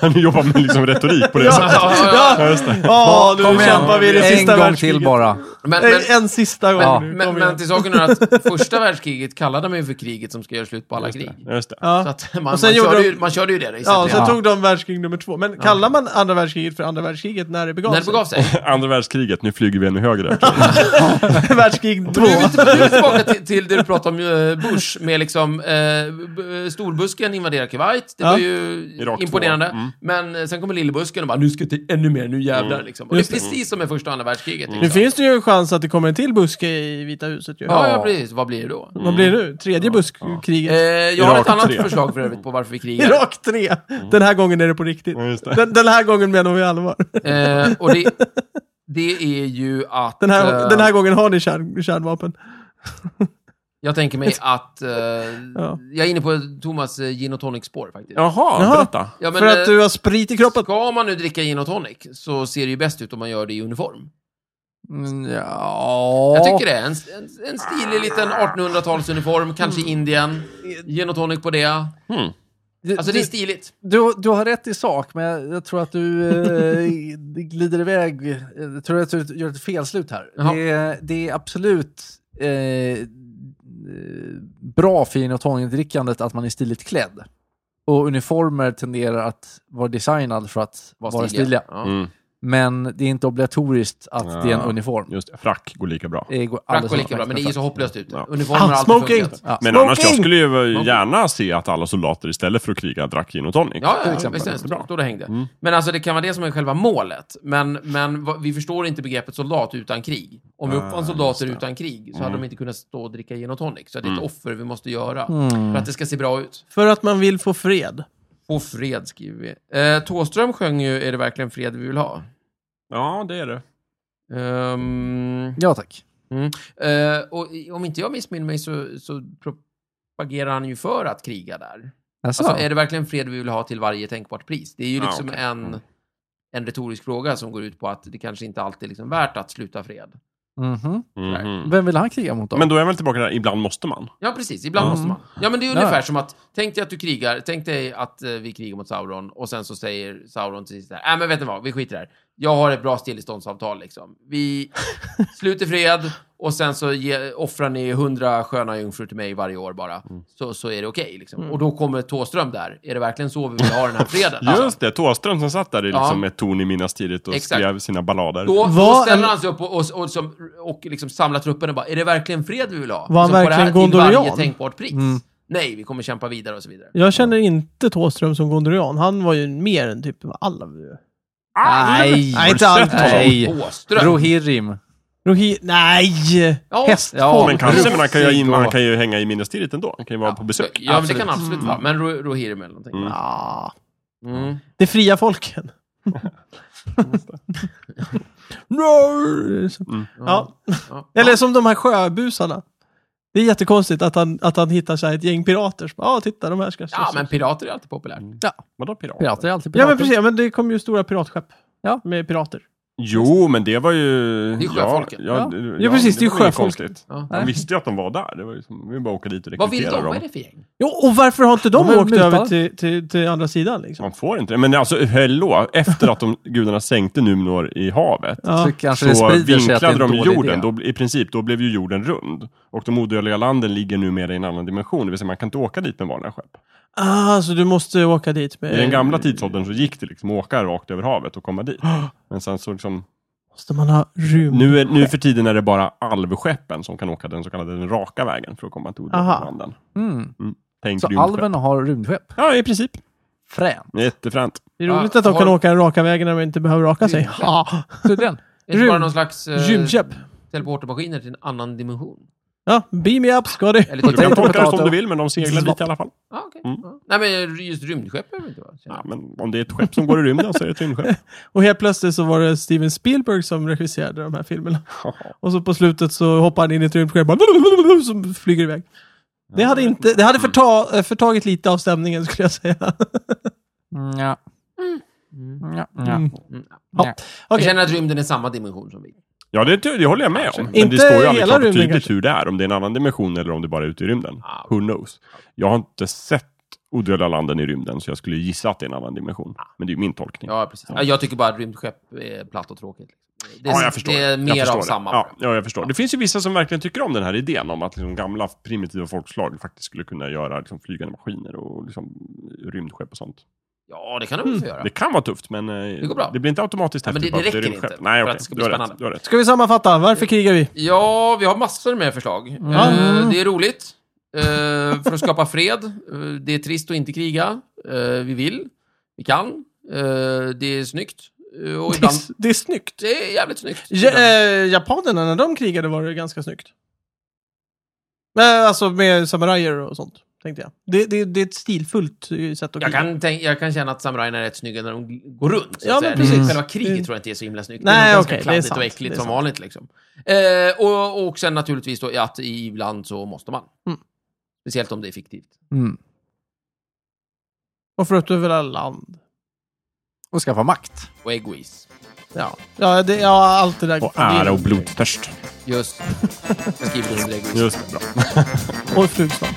[SPEAKER 3] Han jobbar med liksom retorik på det
[SPEAKER 1] Ja,
[SPEAKER 3] sättet.
[SPEAKER 1] ja,
[SPEAKER 3] Ja, just det.
[SPEAKER 1] ja nu
[SPEAKER 4] Kom igen,
[SPEAKER 1] kämpar vi i det sista
[SPEAKER 4] en gång
[SPEAKER 1] världskriget.
[SPEAKER 4] till bara.
[SPEAKER 2] Men, men,
[SPEAKER 1] Nej, en sista gång.
[SPEAKER 4] Ja.
[SPEAKER 1] nu,
[SPEAKER 2] men,
[SPEAKER 1] kom
[SPEAKER 2] men
[SPEAKER 1] igen.
[SPEAKER 2] till saken är att första världskriget kallade man ju för kriget som ska göra slut på alla
[SPEAKER 3] Just
[SPEAKER 2] krig.
[SPEAKER 3] det. Just det.
[SPEAKER 1] ja.
[SPEAKER 2] Så att man, man,
[SPEAKER 1] Och sen gjorde
[SPEAKER 2] körde
[SPEAKER 1] de-
[SPEAKER 2] ju, man körde ju det då,
[SPEAKER 1] Ja, sen
[SPEAKER 2] ja,
[SPEAKER 1] tog de världskrig nummer två. Men kallar man andra världskriget för andra världskriget när det begav
[SPEAKER 2] När det begav sig.
[SPEAKER 3] Andra världskriget, nu flyger vi ännu högre.
[SPEAKER 1] sig? Världskrig
[SPEAKER 2] Nu är vi
[SPEAKER 1] två.
[SPEAKER 2] till- nu är vi tillbaka till, till det du pratade om eh, Bush med liksom eh, b- storbusken invaderar Kuwait. Det
[SPEAKER 1] Ja.
[SPEAKER 2] var ju
[SPEAKER 3] Irak två.
[SPEAKER 2] imponerande.
[SPEAKER 3] Mm.
[SPEAKER 2] Men eh, sen kommer lillebusken och bara nu ska det ännu mer, nu jävlar
[SPEAKER 3] Mm.
[SPEAKER 2] liksom. Och det är
[SPEAKER 1] Just det.
[SPEAKER 2] precis som med första och andra världskriget.
[SPEAKER 1] Nu
[SPEAKER 2] Liksom.
[SPEAKER 1] finns det ju en chans att det kommer en till buske i Vita huset ju.
[SPEAKER 2] Ja, ja, precis. Vad blir det då?
[SPEAKER 1] Vad blir det nu? Tredje
[SPEAKER 2] Eh,
[SPEAKER 1] buskkriget?
[SPEAKER 2] jag har
[SPEAKER 3] Irak
[SPEAKER 2] ett annat
[SPEAKER 3] tre.
[SPEAKER 2] förslag för övrigt på varför vi krigar.
[SPEAKER 1] Irak 3!
[SPEAKER 2] Mm.
[SPEAKER 1] Den här gången är det på riktigt.
[SPEAKER 3] Ja, just det.
[SPEAKER 1] Den, den här gången menar vi allvar.
[SPEAKER 2] Eh, och det, det är ju att...
[SPEAKER 1] Den här,
[SPEAKER 2] eh,
[SPEAKER 1] den här gången har ni kärn, kärnvapen.
[SPEAKER 2] Jag tänker mig att... eh, Jag är inne på Thomas eh, gin och tonic-spår faktiskt.
[SPEAKER 3] Jaha,
[SPEAKER 1] Jaha.
[SPEAKER 3] berätta.
[SPEAKER 2] Ja, men,
[SPEAKER 1] För
[SPEAKER 2] eh,
[SPEAKER 1] att du har sprit i kroppen.
[SPEAKER 2] Ska man nu dricka gin och tonic så ser det ju bäst ut om man gör det i uniform.
[SPEAKER 4] Mm, Ja.
[SPEAKER 2] Jag tycker det. En, en, en stilig liten 1800-talsuniform, kanske Indien. Gin och tonic på det.
[SPEAKER 4] Du,
[SPEAKER 2] Alltså det är stiligt.
[SPEAKER 4] du, du har rätt i sak, men jag, jag tror att du eh, glider iväg. Jag tror att du gör ett felslut här.
[SPEAKER 2] Jaha.
[SPEAKER 4] Det, är- det är absolut eh, eh, bra för gin och tonic-drickandet att man är stiligt klädd. Och uniformer tenderar att vara designad för att
[SPEAKER 2] Var
[SPEAKER 4] vara stiliga.
[SPEAKER 2] Ja.
[SPEAKER 3] Mm.
[SPEAKER 4] Men det är inte obligatoriskt att det är en
[SPEAKER 3] Ja.
[SPEAKER 4] uniform.
[SPEAKER 3] Just det, frack går lika bra.
[SPEAKER 4] Det går
[SPEAKER 2] Frack
[SPEAKER 4] alldeles
[SPEAKER 2] går lika bra, men
[SPEAKER 4] utmärkt
[SPEAKER 2] det
[SPEAKER 4] med
[SPEAKER 2] är ju så
[SPEAKER 4] frack.
[SPEAKER 2] hopplöst ut.
[SPEAKER 3] Ja.
[SPEAKER 2] Uniformer har alltid
[SPEAKER 1] Smoking.
[SPEAKER 2] funkat.
[SPEAKER 4] Ja.
[SPEAKER 3] Men annars, jag skulle ju gärna se att alla soldater istället för att kriga drack gin och tonic.
[SPEAKER 2] Ja,
[SPEAKER 4] Till
[SPEAKER 2] ja, ja
[SPEAKER 4] exempel.
[SPEAKER 2] visst.
[SPEAKER 3] Bra.
[SPEAKER 2] Då det hängde.
[SPEAKER 3] Mm.
[SPEAKER 2] Men alltså det kan vara det som är själva målet. Men, men vad- vi förstår inte begreppet soldat utan krig. Om vi
[SPEAKER 3] Ah,
[SPEAKER 2] uppfann soldater utan krig så hade de inte kunnat stå och dricka gin och tonic. Så det är ett
[SPEAKER 3] Mm.
[SPEAKER 2] offer vi måste göra
[SPEAKER 4] Mm.
[SPEAKER 2] för att det ska se bra ut.
[SPEAKER 1] För att man vill få fred.
[SPEAKER 2] Och fred skriver vi. Eh, Tåström sjöng ju Är det verkligen fred vi vill ha?
[SPEAKER 3] Ja, det är det.
[SPEAKER 2] Ehm,
[SPEAKER 4] Ja, tack.
[SPEAKER 2] eh, och i- om inte jag missminner mig så, så propagerar han ju för att kriga där.
[SPEAKER 4] Alltså,
[SPEAKER 2] Alltså, är det verkligen fred vi vill ha till varje tänkbart pris? Det är ju
[SPEAKER 3] Ja,
[SPEAKER 2] liksom
[SPEAKER 3] okej.
[SPEAKER 2] en,
[SPEAKER 3] Mm.
[SPEAKER 2] en retorisk fråga som går ut på att det kanske inte alltid är liksom värt att sluta fred.
[SPEAKER 4] mhm.
[SPEAKER 1] Mm.
[SPEAKER 3] Mhm.
[SPEAKER 4] Vem vill han kriga mot då?
[SPEAKER 3] Men då är jag väl tillbaka där, ibland måste man.
[SPEAKER 2] Ja, precis. Ibland
[SPEAKER 4] Mm.
[SPEAKER 2] måste man. Ja, men det är
[SPEAKER 4] Ja.
[SPEAKER 2] ungefär som att, tänk dig att du krigar, tänk dig att eh, vi krigar mot Sauron och sen så säger Sauron till sist här, äh, men vet ni vad, vi skiter i det här. Jag har ett bra stilleståndsavtal liksom. Vi sluter fred och sen så ge, offrar ni hundra sköna jungfrur till mig varje år bara. Så, så är det okej liksom. Och då kommer Tåström där. Är det verkligen så vi vill ha den här freden? Alltså,
[SPEAKER 3] Just det, Thåström som satt där i
[SPEAKER 2] Ja.
[SPEAKER 3] liksom ett torn i Minas Tirith och
[SPEAKER 2] Exakt.
[SPEAKER 3] skrev sina ballader.
[SPEAKER 2] Då, då
[SPEAKER 1] Var
[SPEAKER 2] ställer
[SPEAKER 1] en-
[SPEAKER 2] han sig upp och, och, och, som, och liksom samlar truppen och bara, är det verkligen fred vi vill ha?
[SPEAKER 1] Var han
[SPEAKER 2] Liksom, på det här-
[SPEAKER 1] verkligen
[SPEAKER 2] Till varje
[SPEAKER 1] gondolian?
[SPEAKER 2] tänkbart pris.
[SPEAKER 4] Mm.
[SPEAKER 2] Nej, vi kommer kämpa vidare och så vidare.
[SPEAKER 1] Jag känner inte Thåström som gondorian. Han var ju mer än typ alla.
[SPEAKER 4] Nej!
[SPEAKER 1] Ah, Nej, inte allt.
[SPEAKER 3] sett honom?
[SPEAKER 4] Nej.
[SPEAKER 2] Åström.
[SPEAKER 4] Rohirrim.
[SPEAKER 1] Rohi... Nej!
[SPEAKER 2] Ja.
[SPEAKER 1] Hästfolk.
[SPEAKER 4] Ja,
[SPEAKER 3] Men kanske, men han kan, ju, ha in-
[SPEAKER 4] Precis,
[SPEAKER 3] han kan ju hänga i Minas Tirith ändå. Han kan ju vara på besök.
[SPEAKER 2] Ja, men det
[SPEAKER 4] Absolut.
[SPEAKER 2] kan absolut vara. Men Ro- Rohirrim eller någonting.
[SPEAKER 3] Mm.
[SPEAKER 1] Ah,
[SPEAKER 2] Mm.
[SPEAKER 1] det fria folken.
[SPEAKER 3] Mm.
[SPEAKER 1] ja.
[SPEAKER 2] Ja.
[SPEAKER 1] Eller som de här sjöbusarna. Det är jättekonstigt att han, att han hittar sig ett gäng pirater. som, Ja, ah, titta de här ska...
[SPEAKER 2] Ja, men pirater är alltid populärt.
[SPEAKER 3] Vadå pirater?
[SPEAKER 4] Pirater är alltid pirater.
[SPEAKER 1] ja men precis. Men det kom ju stora piratskepp.
[SPEAKER 4] Ja.
[SPEAKER 1] Med pirater.
[SPEAKER 3] Jo, men det var ju...
[SPEAKER 2] Det är sjöfolken.
[SPEAKER 3] Ja, ja, ja,
[SPEAKER 1] Ja, precis, det är
[SPEAKER 3] var inget
[SPEAKER 1] sjöfolk.
[SPEAKER 3] konstigt.
[SPEAKER 2] Ja.
[SPEAKER 3] Man visste ju att de var där. Det var ju som, vi bara åka dit och
[SPEAKER 2] Vad vill de?
[SPEAKER 3] rekrytera
[SPEAKER 2] Vad är
[SPEAKER 3] dem.
[SPEAKER 2] det för gäng?
[SPEAKER 1] Jo, och varför har inte de,
[SPEAKER 4] De är
[SPEAKER 1] åkt
[SPEAKER 4] mutade.
[SPEAKER 1] över till, till, till andra sidan liksom?
[SPEAKER 3] Man får inte det. Men alltså, hellå! Efter att de gudarna sänkte Numenor i havet.
[SPEAKER 1] Ja.
[SPEAKER 4] Så kanske det
[SPEAKER 3] Så
[SPEAKER 4] sprider sig att det är
[SPEAKER 3] vinklade
[SPEAKER 4] en
[SPEAKER 3] de
[SPEAKER 4] dålig
[SPEAKER 3] jorden,
[SPEAKER 4] idé.
[SPEAKER 3] då, i princip, då blev ju jorden rund. Och de odödliga landen ligger numera i en annan dimension, det vill säga man kan inte åka dit med vanliga skepp.
[SPEAKER 1] Ah, så du måste åka dit med...
[SPEAKER 3] I den
[SPEAKER 4] Eh.
[SPEAKER 3] gamla tidsåldern så gick det liksom att åka rakt över havet och komma dit. Men sen så liksom,
[SPEAKER 1] Måste man ha rymd?
[SPEAKER 3] nu, är, nu för tiden är det bara alvskeppen som kan åka den så kallade den raka vägen för att komma till odödliga
[SPEAKER 1] Aha.
[SPEAKER 3] landen.
[SPEAKER 4] Mm.
[SPEAKER 3] Tänk
[SPEAKER 4] Så
[SPEAKER 3] rymdskepp.
[SPEAKER 4] alven har rymdskepp.
[SPEAKER 3] Ja, i princip.
[SPEAKER 4] Frän.
[SPEAKER 3] Jättefränt.
[SPEAKER 1] Det är roligt
[SPEAKER 2] Ja,
[SPEAKER 1] att de kan
[SPEAKER 2] Ah, har-
[SPEAKER 1] åka den raka vägen när de inte behöver raka sig.
[SPEAKER 2] Rymdskepp.
[SPEAKER 1] Ja,
[SPEAKER 4] Tydligen.
[SPEAKER 2] Är det inte bara
[SPEAKER 1] Rymd-
[SPEAKER 2] någon slags eh,
[SPEAKER 1] Gymköp.
[SPEAKER 2] teleportermaskiner till en annan dimension?
[SPEAKER 1] Ja, beam me up ska du.
[SPEAKER 2] Eller
[SPEAKER 3] Du
[SPEAKER 2] typ...
[SPEAKER 3] kan
[SPEAKER 4] Tänk på
[SPEAKER 3] tolka det som
[SPEAKER 4] potatis.
[SPEAKER 3] du vill, men de seglar dit i alla fall.
[SPEAKER 2] ah, okej.
[SPEAKER 3] Mm.
[SPEAKER 2] Ja. Nej, men just rymdskepp behöver det inte vara.
[SPEAKER 3] Ja, men om det är ett skepp som går i rymden så är det ett rymdskepp.
[SPEAKER 1] Och helt plötsligt så var det Steven Spielberg som regisserade de här filmerna. Och så på slutet så hoppar han in i ett rymdskepp och bara som flyger iväg. Det hade, inte, det hade förta, eh, förtagit lite av stämningen skulle jag säga.
[SPEAKER 4] Mm, Ja. Ja, ja.
[SPEAKER 1] Mm.
[SPEAKER 2] Mm.
[SPEAKER 1] Ja.
[SPEAKER 2] Jag
[SPEAKER 1] Okej.
[SPEAKER 2] känner att rymden är samma dimension som vi.
[SPEAKER 3] Ja, det, det håller jag med om. Men
[SPEAKER 1] Inte
[SPEAKER 3] det står ju
[SPEAKER 1] hela
[SPEAKER 3] aldrig klart och
[SPEAKER 1] rymden
[SPEAKER 3] tydligt
[SPEAKER 1] kanske.
[SPEAKER 3] hur det är. Om det är en annan dimension eller om det bara är ute i rymden.
[SPEAKER 2] Ah, okej.
[SPEAKER 3] Who knows? Jag har inte sett odödliga landen i rymden, så jag skulle gissa att det är en annan dimension. Men det är ju min tolkning.
[SPEAKER 2] Ja, precis. Ja. Jag tycker bara att rymdskepp är platt och tråkigt. liksom. Det är,
[SPEAKER 3] Ja, jag förstår.
[SPEAKER 2] det är
[SPEAKER 3] Jag
[SPEAKER 2] mer
[SPEAKER 3] förstår
[SPEAKER 2] av
[SPEAKER 3] det.
[SPEAKER 2] samma.
[SPEAKER 3] Ja, ja, jag förstår. Det finns ju vissa som verkligen tycker om den här idén om att liksom gamla primitiva folkslag faktiskt skulle kunna göra liksom flygande maskiner och liksom rymdskepp och sånt.
[SPEAKER 2] Ja, det kan de väl få göra.
[SPEAKER 3] Det kan vara tufft, men eh,
[SPEAKER 2] går bra.
[SPEAKER 3] det blir inte automatiskt
[SPEAKER 2] Ja, men
[SPEAKER 3] häftigt
[SPEAKER 2] det- det
[SPEAKER 3] bara för
[SPEAKER 2] räcker
[SPEAKER 3] rymdskepp.
[SPEAKER 2] inte
[SPEAKER 3] Nej,
[SPEAKER 2] för
[SPEAKER 3] okej.
[SPEAKER 2] att det ska
[SPEAKER 3] Du
[SPEAKER 2] bli
[SPEAKER 3] har rätt.
[SPEAKER 2] spännande.
[SPEAKER 3] Du har rätt.
[SPEAKER 1] Ska vi sammanfatta? Varför krigar vi?
[SPEAKER 2] Ja, vi har massor med förslag.
[SPEAKER 1] Mm.
[SPEAKER 2] Eh, det är roligt. Eh, för att skapa fred. Eh, det är trist att inte kriga. Eh, vi vill. Vi kan. Eh, det är snyggt. Eh, och
[SPEAKER 1] Det är,
[SPEAKER 2] ibland...
[SPEAKER 1] s- det är snyggt.
[SPEAKER 2] Det är jävligt snyggt.
[SPEAKER 1] Ja,
[SPEAKER 2] Ibland.
[SPEAKER 1] eh, japanerna, när de krigade var det ganska snyggt. Eh, alltså med samurajer och sånt, tänkte jag. Det, det, det är ett stilfullt eh, sätt att
[SPEAKER 2] Jag
[SPEAKER 1] kriga.
[SPEAKER 2] kan, tänk, jag kan känna att samurajerna är rätt snygga när de g- går runt. Så
[SPEAKER 1] Ja,
[SPEAKER 2] att
[SPEAKER 1] men
[SPEAKER 2] säga.
[SPEAKER 1] precis.
[SPEAKER 2] Mm. Själva kriget
[SPEAKER 1] Mm.
[SPEAKER 2] tror jag inte är så himla snyggt.
[SPEAKER 1] Nej,
[SPEAKER 2] det är ganska
[SPEAKER 1] okej, det är
[SPEAKER 2] kladdigt
[SPEAKER 1] sant.
[SPEAKER 2] och
[SPEAKER 1] Det är
[SPEAKER 2] äckligt som
[SPEAKER 1] sant.
[SPEAKER 2] vanligt. Liksom. Eh, och, och sen naturligtvis då att ibland så måste man.
[SPEAKER 1] Mm.
[SPEAKER 2] Speciellt om det är fiktivt.
[SPEAKER 4] Mm.
[SPEAKER 1] Och för att överla land.
[SPEAKER 4] Och skaffa makt.
[SPEAKER 2] Och egoism.
[SPEAKER 1] Ja, ja, det, ja allt det där.
[SPEAKER 3] Och ära och blodtörst.
[SPEAKER 2] Just. Jag skriver under egoism.
[SPEAKER 3] Just det, bra.
[SPEAKER 1] Och flugsvamp.